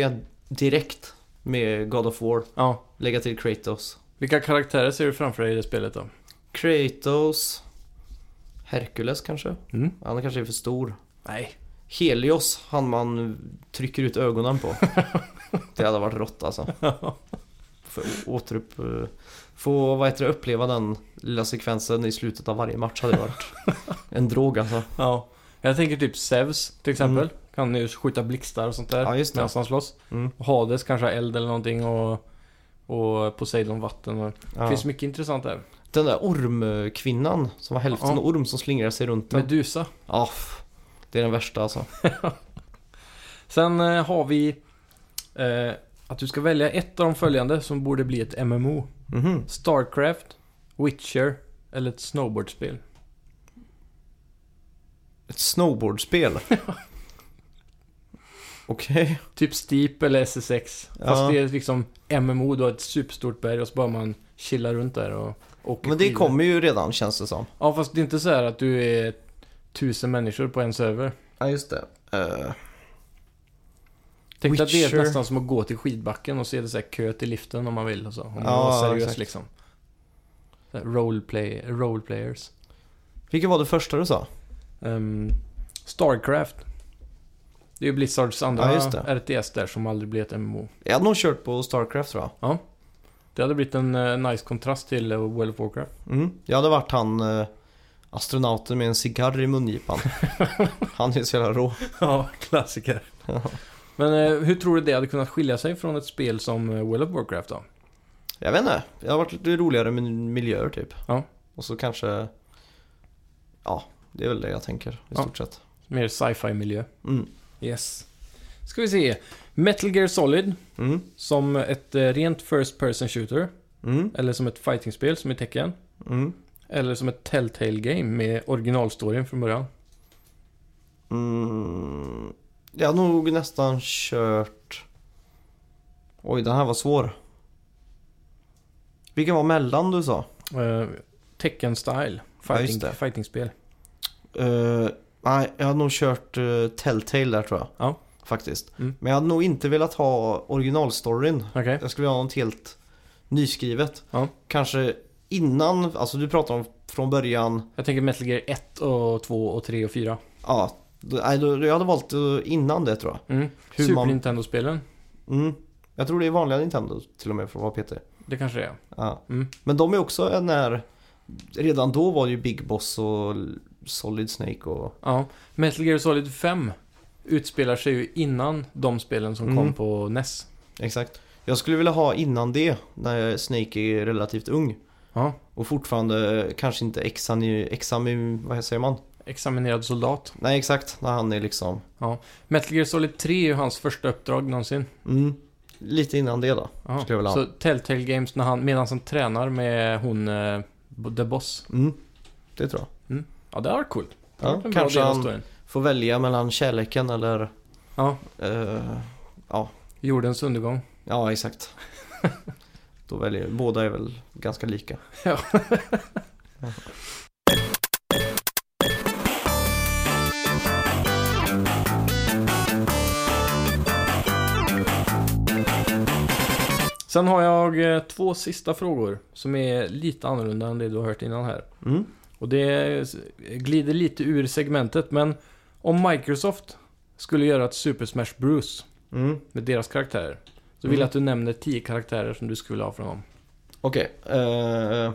A: direkt med God of War.
B: Ja.
A: Lägga till Kratos.
B: Vilka karaktärer ser du framför dig i det spelet då?
A: Kratos. Herkules kanske?
B: Mm.
A: Han kanske är för stor.
B: Nej.
A: Helios, han man trycker ut ögonen *laughs* på. det hade varit rått alltså. För å- återupp... eh, Få vad heter det, uppleva den lilla sekvensen i slutet av varje match hade *laughs* varit en drog alltså.
B: Ja. Jag tänker typ Zeus till exempel.
A: Mm.
B: Kan ju skjuta blixtar och sånt där.
A: Ja, just det.
B: Medan han slåss.
A: Mm.
B: Och Hades kanske har eld eller någonting och, och Poseidon vatten. Och... Det
A: Ja.
B: finns mycket intressant där.
A: Den där ormkvinnan som var hälften
B: Ja.
A: orm som slingrar sig runt den.
B: Medusa.
A: Ja, f- det är den värsta alltså.
B: Sen eh, har vi eh, att du ska välja ett av de följande som borde bli ett MMO.
A: Mhm.
B: Starcraft, Witcher eller ett snowboardspel.
A: Ett *laughs* snowboardspel. Okej.
B: Typ Steep eller SSX.
A: Ja.
B: Fast det är liksom MMO, du har ett superstort berg och så bara man chillar runt där och åker
A: Men det
B: skidor.
A: kommer ju redan känns det som.
B: Ja, fast det är inte så här att du är tusen människor på en server.
A: Ja, just det. Eh,
B: Tänk dig att det är
A: Witcher.
B: nästan som att gå till skidbacken och se det så här kö till liften om man vill och så. Om man
A: Ja,
B: var seriös
A: exakt.
B: liksom. Så här Roleplay, roleplayers.
A: Vilket var det första du sa?
B: Ehm, Starcraft. Det är ju Blizzards andra
A: Ja, just det.
B: RTS där som aldrig blev ett MMO.
A: Jag hade nog kört på Starcraft tror jag.
B: Det hade blivit en eh, nice kontrast till eh, World of Warcraft.
A: Mm. Jag hade varit han eh, astronauten med en cigarr i *laughs* mungipan. han är så jävla rå.
B: ja, klassiker. Men eh, hur tror du det hade kunnat skilja sig från ett spel som eh, World of Warcraft då?
A: Jag vet inte. Jag har varit lite roligare med miljöer typ.
B: Ja.
A: Och så kanske... Ja, det är väl det jag tänker i
B: Ja.
A: stort sett.
B: Mer sci-fi miljö.
A: Mm.
B: Yes. Ska vi se. Metal Gear Solid.
A: Mm.
B: Som ett eh, rent First Person Shooter.
A: Mm.
B: Eller som ett fightingspel som i Tekken.
A: Mm.
B: Eller som ett Telltale Game med originalstoryn från början.
A: Mm. Jag har nog nästan kört... Oj, den här var svår. Vilken var mellan du sa?
B: Eh, Tekken-style.
A: Ja,
B: Fighting,
A: just det.
B: fightingspel.
A: Eh, nej, jag hade nog kört uh, Telltale där tror jag.
B: Ja.
A: Faktiskt.
B: Mm.
A: Men jag hade nog inte velat ha originalstoryn.
B: Okej.
A: Jag skulle vilja ha något helt nyskrivet.
B: Ja.
A: Kanske innan, alltså du pratar om från början.
B: Jag tänker Metal Gear 1 och 2 och 3 och 4.
A: Ja, då- nej, då- jag hade valt eh, innan det tror jag.
B: Mm.
A: Hur
B: Super
A: man-
B: Nintendo-spelen.
A: Mm. Jag tror det är vanliga Nintendo till och med för att vara PT.
B: Det kanske det är.
A: Ja.
B: Mm.
A: Men de är också en när... Redan då var det ju Big Boss och Solid Snake och...
B: Ja. Metal Gear Solid 5 utspelar sig ju innan de spelen som kom
A: Mm.
B: på E NES.
A: Exakt. Jag skulle vilja ha innan det, när Snake är relativt ung.
B: Ja. Och
A: Och fortfarande eh, kanske inte exam... exam vad säger man?
B: examinerad soldat.
A: Nej, exakt. När han är liksom...
B: Metal Gear Solid 3 är ju hans första uppdrag någonsin.
A: Mm. Lite innan det då.
B: Ja.
A: Skulle jag vilja ha.
B: Så Telltale Games när han, medan han tränar med hon, eh, B- The Boss.
A: Mm. Det tror jag.
B: Ja, det var coolt. Det
A: Ja,
B: hade varit en bra
A: kanske
B: del av
A: han-
B: storyn.
A: Får välja mellan kärleken eller...
B: Ja.
A: eh,
B: Jordens undergång.
A: ja,
B: *laughs*
A: exakt. då väljer... Båda är väl ganska lika.
B: Sen har jag eh, två sista frågor som är lite annorlunda än det du har hört innan här.
A: Mm.
B: Och det glider lite ur segmentet, men om Microsoft skulle göra ett Super Smash Bros
A: Mm.
B: med deras karaktärer, så vill
A: Mm.
B: jag att du nämner 10 karaktärer som du skulle vilja ha från dem.
A: Okej. eh,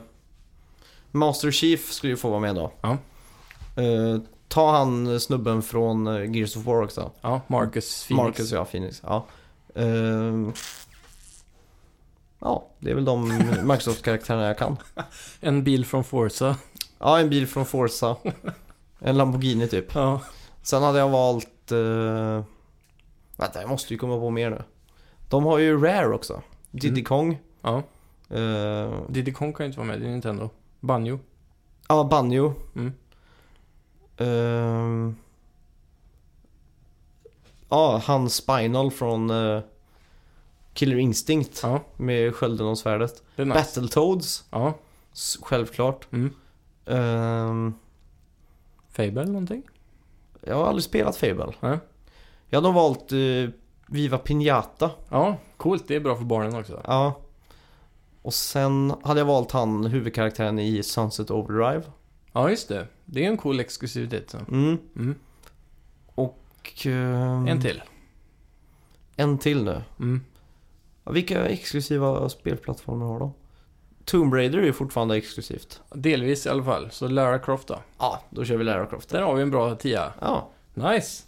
A: Master Chief skulle ju få vara med då.
B: Ja.
A: Eh, ta han snubben från eh, Gears of War också.
B: Ja, Marcus Phoenix.
A: Marcus, ja. Phoenix. Ja. Eh, ja, det är väl de Microsoft-karaktärerna jag kan.
B: En bil från Forza.
A: Ja, en bil från Forza. En Lamborghini typ.
B: Ja.
A: Sen hade jag valt... eh, vänta, jag måste ju komma på mer nu. De har ju Rare också. Diddy
B: Mm.
A: Kong.
B: ja.
A: eh,
B: Diddy Kong kan ju inte vara med, det är Nintendo. Banjo.
A: Ja, Banjo.
B: Mm.
A: Ehm. Ja, han Spinal från eh, Killer Instinct
B: Ja,
A: med skölden och svärdet.
B: det är nice.
A: Battletoads,
B: Ja.
A: s- självklart.
B: Mm.
A: Ehm,
B: Fable eller någonting?
A: jag har aldrig spelat Fable.
B: Nej.
A: Jag hade nog valt eh, Viva Pinata.
B: Ja, coolt. Det är bra för barnen också.
A: Ja. Och sen hade jag valt han huvudkaraktären i Sunset Overdrive.
B: Ja, just det. Det är en cool exklusivitet. Så.
A: Mm.
B: Mm.
A: Och, ehm,
B: En till.
A: En till nu.
B: Mm.
A: Ja, Vilka exklusiva spelplattformar har de? Tomb Raider är ju fortfarande exklusivt.
B: Delvis i alla fall. Så Lara Croft då.
A: Ja, då kör vi Lara Croft.
B: Där har vi en bra tia.
A: Ja,
B: Nice!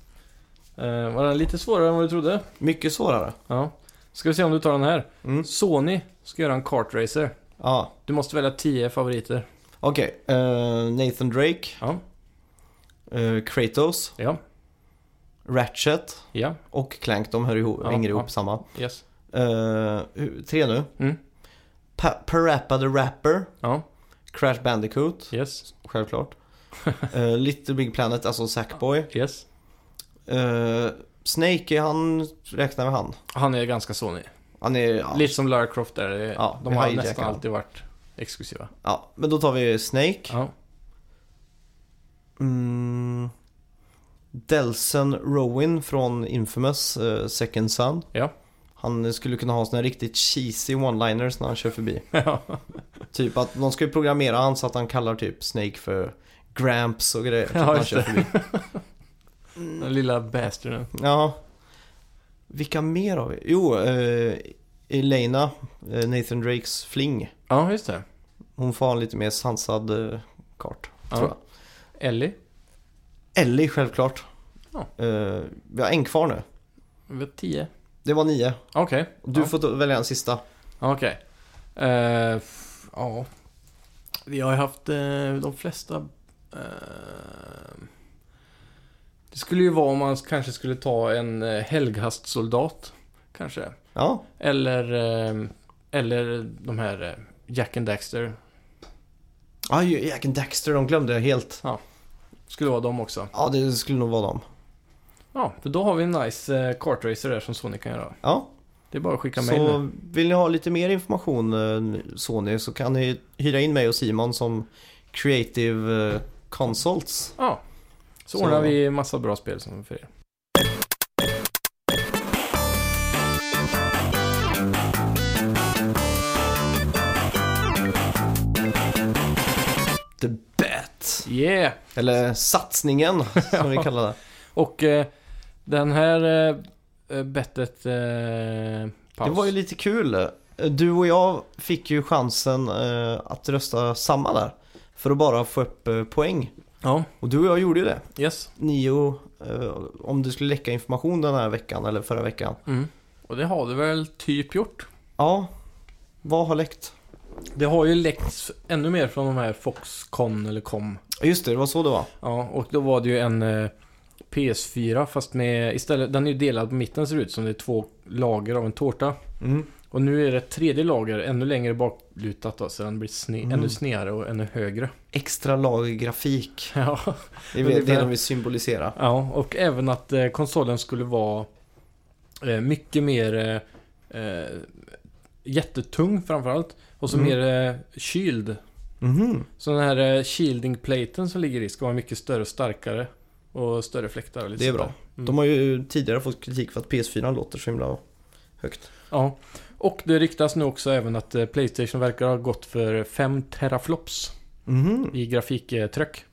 B: Eh, var den lite svårare än vad du trodde?
A: mycket svårare.
B: Ja. Ska vi se om du tar den här.
A: Mm.
B: Sony ska göra en kartracer.
A: Ja,
B: Du måste välja 10 favoriter.
A: okej. Eh, Nathan Drake,
B: Ja.
A: eh, Kratos,
B: Ja.
A: Ratchet
B: Ja.
A: och Clank. De hör ihop,
B: Ja,
A: hänger ihop
B: ja.
A: samma.
B: Yes.
A: Eh, tre nu.
B: Mm.
A: Pa- Parappa the Rapper,
B: Ja.
A: Crash Bandicoot,
B: Yes.
A: *laughs* självklart. Eh, Little Big Planet, alltså Sackboy.
B: Yes.
A: Eh, Snake, är han räknar med han.
B: Han är ganska Sony.
A: Han är... Ja,
B: Lite som Lara Croft där. Det-
A: Ja,
B: De
A: vi
B: har
A: hijackar
B: nästan
A: dem.
B: alltid varit exklusiva.
A: ja. Men då tar vi Snake.
B: Ja.
A: Mm. Delson Rowan från Infamous eh, Second Son.
B: Ja.
A: Han skulle kunna ha såna riktigt cheesy one-liners när han kör förbi.
B: *laughs* Ja.
A: Typ att de ska ju programmera han så att han kallar typ Snake för Gramps och grejer. typ
B: Ja,
A: när han
B: just
A: kör
B: det.
A: förbi.
B: Den lilla bastarden.
A: Ja. Vilka mer har vi? Jo, eh, Elena, eh, Nathan Drakes fling.
B: Ja, just det.
A: Hon får ha en lite mer sansad eh, kart. Tror
B: Ja. Ellie?
A: Ellie självklart.
B: Ja.
A: Eh, vi har en kvar nu.
B: Vi har tio.
A: Det var nio.
B: Okej.
A: Du
B: Ja.
A: får ta- välja en sista.
B: Okej. Eh, f- Ja. Vi har ju haft eh, de flesta... eh, Det skulle ju vara om man kanske skulle ta en eh, helghastsoldat. Kanske.
A: Ja,
B: Eller... eh, Eller de här eh, Jack and Daxter.
A: ah, ju- Jack and Daxter, de glömde jag helt.
B: Skulle vara dem också.
A: Ja, det skulle nog vara dem.
B: Ja, för då har vi en nice eh, kartracer där som Sony kan göra.
A: Ja,
B: Det är bara att skicka mejl nu.
A: så vill ni ha lite mer information eh, Sony så kan ni hyra in mig och Simon som Creative eh, Consults.
B: Ja. Så,
A: Så-
B: ordnar vi massa bra spel som för er.
A: The Bet.
B: Yeah!
A: Eller satsningen
B: *laughs*
A: som vi kallar det.
B: Och eh, den här eh, eh, bettet... Eh,
A: Det
B: paus.
A: var ju lite kul. Eh, Du och jag fick ju chansen eh, att rösta samma där. För att bara få upp eh, poäng.
B: Ja,
A: Och du och jag gjorde ju det.
B: yes.
A: Nio, eh, om du skulle läcka information den här veckan eller förra veckan.
B: Mm. Och det har det väl typ gjort.
A: Ja, vad har läckt?
B: Det har ju läckts ännu mer från de här Foxconn eller Com.
A: Ja, Just det, det var så det var.
B: Ja, och då var det ju en eh, PS4 fast med istället... Den är ju delad på mitten ser det ut som det är två lager av en tårta.
A: Mm.
B: Och nu är det ett tredje lager ännu längre baklutat då, så den blir sne-
A: Mm.
B: ännu snedare och ännu högre. *laughs*
A: Extra lager grafik.
B: Ja.
A: Det är väl det
B: Ungefär.
A: de vill symbolisera.
B: ja, och även att eh, konsolen skulle vara eh, mycket mer eh, eh, jättetung framförallt. Och så
A: Mm.
B: mer eh, kyld.
A: Mhm.
B: Så den här eh, shielding-platen som ligger i ska vara mycket större och starkare. Och större fläktar och lite
A: Det är
B: sånt
A: bra.
B: där. Mm.
A: De har ju tidigare fått kritik för att PS4 låter så himla högt.
B: Ja. Och det ryktas nu också även att eh, Playstation verkar ha gått för 5 teraflops
A: Mhm.
B: i grafiktryck.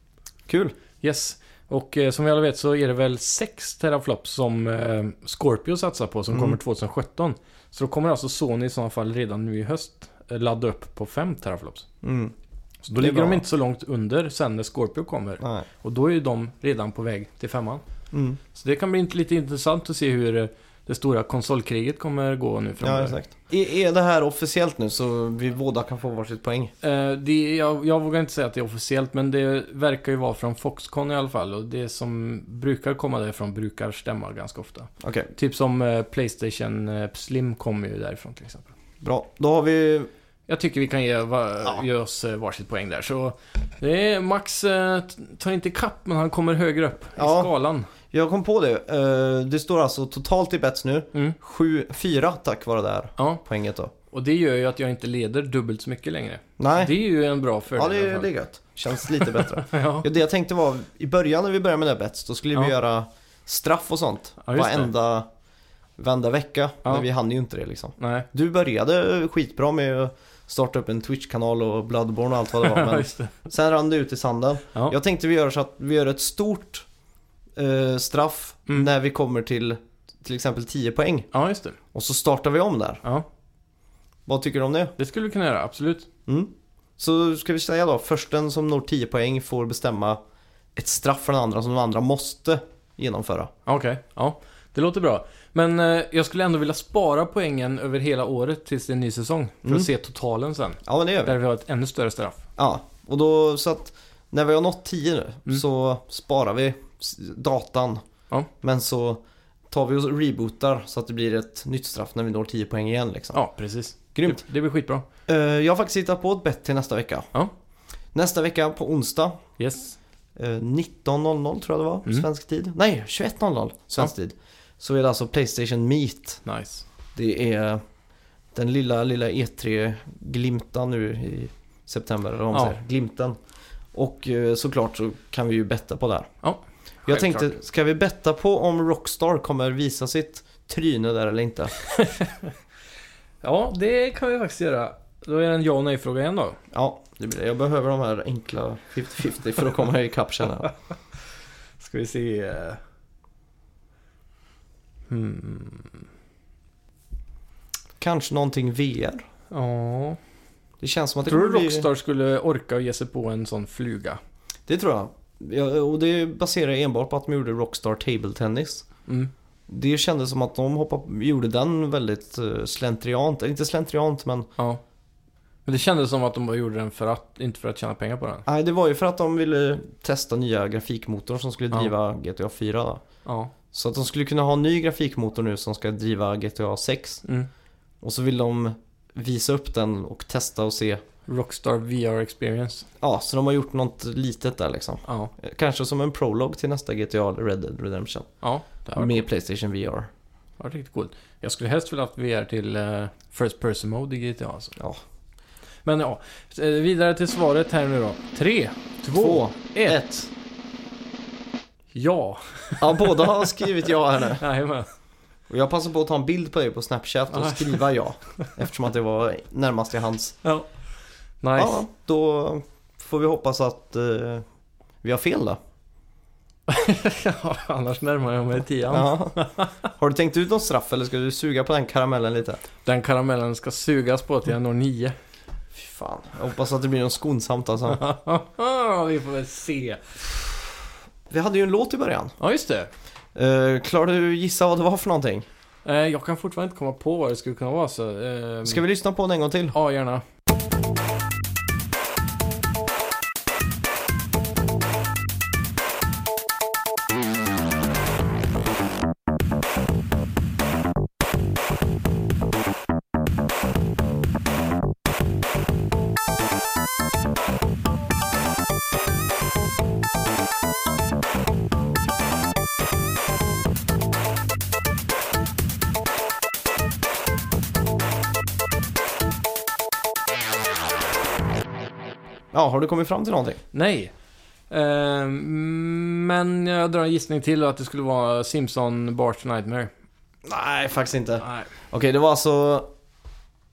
A: Kul.
B: Yes. Och eh, som vi alla vet så är det väl 6 teraflops som eh, Scorpio satsar på som
A: Mm.
B: kommer 2017. Så då kommer alltså Sony i sådana fall redan nu i höst eh, ladda upp på 5 teraflops.
A: Mm.
B: Så då
A: Det är
B: ligger de
A: bra.
B: inte så långt under sen när Scorpio kommer.
A: Nej.
B: Och då är ju de redan på väg till femman.
A: Mm.
B: Så det kan bli int- lite intressant att se hur eh, det stora konsolkriget kommer gå nu
A: Ja,
B: framöver.
A: exakt. Är, är det här officiellt nu så vi båda kan få varsitt poäng?
B: Eh, det, jag, jag vågar inte säga att det är officiellt, men det verkar ju vara från Foxconn i alla fall. Och det som brukar komma därifrån brukar stämma ganska ofta.
A: Okej,
B: Typ som eh, Playstation eh, Slim kommer ju därifrån till exempel.
A: bra. Då har vi...
B: Jag tycker vi kan ge, va,
A: Ja.
B: ge oss eh, varsitt poäng där. Så det är, Max eh, t- tar inte kapp men han kommer högre upp
A: Ja.
B: i skalan.
A: Jag kom på det. Eh, det står alltså totalt i bets nu.
B: Mm.
A: 7-4 tack vare det här
B: Ja,
A: poänget då.
B: och det gör ju att jag inte leder dubbelt så mycket längre.
A: Nej,
B: Det är ju en bra fördel
A: ja det
B: i alla
A: är,
B: fall.
A: det är gött. Känns lite bättre.
B: *laughs* ja.
A: Ja, det jag tänkte var, i början när vi började med det här bets, då skulle
B: Ja.
A: vi göra straff och sånt.
B: Ja, just det.
A: varenda, varenda vecka.
B: Ja.
A: Men vi hann ju inte det liksom.
B: Nej.
A: Du började skitbra med att starta upp en Twitch-kanal och Bloodborne och allt vad
B: *laughs*
A: det var.
B: Ja,
A: Men
B: just det.
A: sen rann det ut i sanden.
B: Ja.
A: Jag tänkte vi gör så att vi gör ett stort eh, straff
B: Mm.
A: när vi kommer till till exempel 10 poäng.
B: ja, just det.
A: Och så startar vi om där.
B: Ja,
A: Vad tycker du om det?
B: det skulle vi kunna göra, absolut.
A: Mm. Så ska vi säga då, försten som når 10 poäng får bestämma ett straff för den andra som den andra måste genomföra.
B: Okej, ja. Det låter bra. Men eh, jag skulle ändå vilja spara poängen över hela året tills det är en ny säsong. För
A: Mm.
B: att se totalen sen.
A: Ja men det gör vi.
B: Där vi har ett ännu större straff.
A: Ja, och då så att när vi har nått 10 nu
B: Mm.
A: så sparar vi s- datan.
B: Ja.
A: Men så tar vi och rebootar så att det blir ett nytt straff när vi når 10 poäng igen liksom.
B: Ja, precis.
A: Grymt.
B: Det, det blir skitbra.
A: Eh, jag har faktiskt hittat på ett bett till nästa vecka.
B: Ja.
A: Nästa vecka på onsdag
B: Yes.
A: eh, 19.00 tror jag det var,
B: Mm.
A: svensk tid. Nej, 21.00 svensk tid. Så är det alltså Playstation Meet.
B: Nice.
A: Det är den lilla, lilla E3-glimtan nu i september, eller vad man
B: Ja.
A: säger. Glimten. Och eh, såklart så kan vi ju betta på det här.
B: Ja.
A: Jag
B: Självklart.
A: tänkte, ska vi betta på om Rockstar kommer visa sitt tryne där eller inte?
B: Ja, det kan vi faktiskt göra. Då är det en ja och nej-fråga igen då.
A: Ja, det blir det. Jag behöver de här enkla 50-50 för att komma ikapp känner
B: *laughs*
A: jag.
B: Ska vi se... eh, Hmm.
A: Kanske någonting VR?
B: Ja.
A: Det känns som att det
B: Tror du
A: kommer bli-
B: Rockstar skulle orka och ge sig på en sån fluga?
A: Det tror jag. Ja, och det baserar jag enbart på att de gjorde Rockstar Table Tennis.
B: Mm.
A: Det kändes som att de hoppade, gjorde den väldigt eh, slentriant. Inte slentriant men...
B: Ja. Men det kändes som att de bara gjorde den för att, inte för att tjäna pengar på den.
A: Nej, det var ju för att de ville testa nya grafikmotorn som skulle
B: Ja.
A: driva GTA 4. Då.
B: Ja.
A: Så att de skulle kunna ha en ny grafikmotor nu som ska driva GTA 6.
B: Mm.
A: Och så vill de visa upp den och testa och se.
B: Rockstar VR Experience.
A: Ja, så de har gjort något litet där liksom.
B: Ja.
A: Eh, Kanske som en prolog till nästa GTA eller Red Dead Redemption.
B: Ja, det har
A: Med Playstation VR.
B: varit riktigt coolt. Jag skulle helst vilja haft VR till eh, First Person Mode i GTA alltså.
A: Ja.
B: Men ja, eh, vidare till svaret här nu då. Tre, två,
A: Två,
B: ett.
A: ett.
B: Ja.
A: Ja, båda har skrivit ja här nu.
B: Jajamän.
A: Och jag passar på att ta en bild på dig på Snapchat och
B: Ah.
A: skriva ja. Eftersom att det var närmast till hans.
B: Ja. Nice.
A: Ja, då får vi hoppas att eh, vi har fel då.
B: *laughs* Ja, annars närmar jag mig tian.
A: Ja. Har du tänkt ut något straff eller ska du suga på den karamellen lite?
B: Den karamellen ska sugas på till jag når nio. *laughs*
A: Fy fan. Jag hoppas att det blir något skonsamt alltså.
B: Vi får väl se.
A: Vi hade ju en låt i början.
B: Ja, just det.
A: Eh, klarar du gissa vad det var för någonting?
B: Eh, jag kan fortfarande inte komma på vad det skulle kunna vara så... Eh,
A: Ska vi lyssna på den en gång till?
B: Ja, gärna.
A: Ja, har du kommit fram till någonting?
B: Nej. Eh, men jag drar en gissning till att det skulle vara Simpson Bart Nightmare.
A: Nej, faktiskt inte. Okej,
B: Nej.
A: det var alltså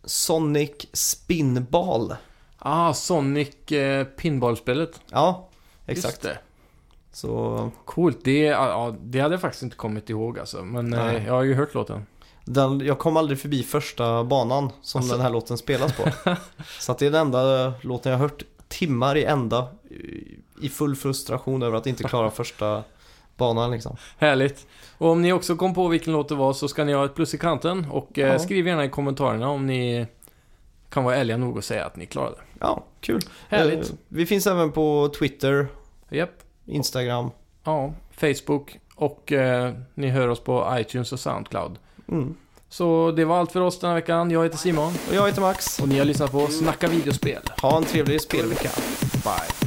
A: Sonic Spinball.
B: Ah, Sonic eh, Pinballspelet.
A: Ja,
B: Just
A: exakt.
B: det.
A: Så
B: Coolt. Det, ja, ja, det hade jag faktiskt inte kommit ihåg alltså. Men
A: Nej.
B: eh, jag har ju hört låten.
A: den, jag kom aldrig förbi första banan som
B: Alltså-
A: den här låten spelas
B: *laughs*
A: på. Så att det är den enda eh, låten jag har hört timmar i ända i- i full frustration över att inte
B: *laughs*
A: klara första banan liksom.
B: Härligt. Och om ni också kom på vilken låt det var så ska ni ha ett plus i kanten. Och eh,
A: Ja.
B: skriv gärna i kommentarerna om ni kan vara ärliga nog och säga att ni klarade det.
A: Ja, kul.
B: Härligt.
A: Eh, Vi finns även på Twitter,
B: Japp.
A: Instagram.
B: Ja, Facebook. Och eh, ni hör oss på iTunes och Soundcloud.
A: Mm.
B: Så det var allt för oss den här veckan. Jag heter Simon.
A: Och jag heter Max.
B: Och ni har lyssnat på Snacka videospel.
A: Ha en trevlig spelvecka.
B: Bye.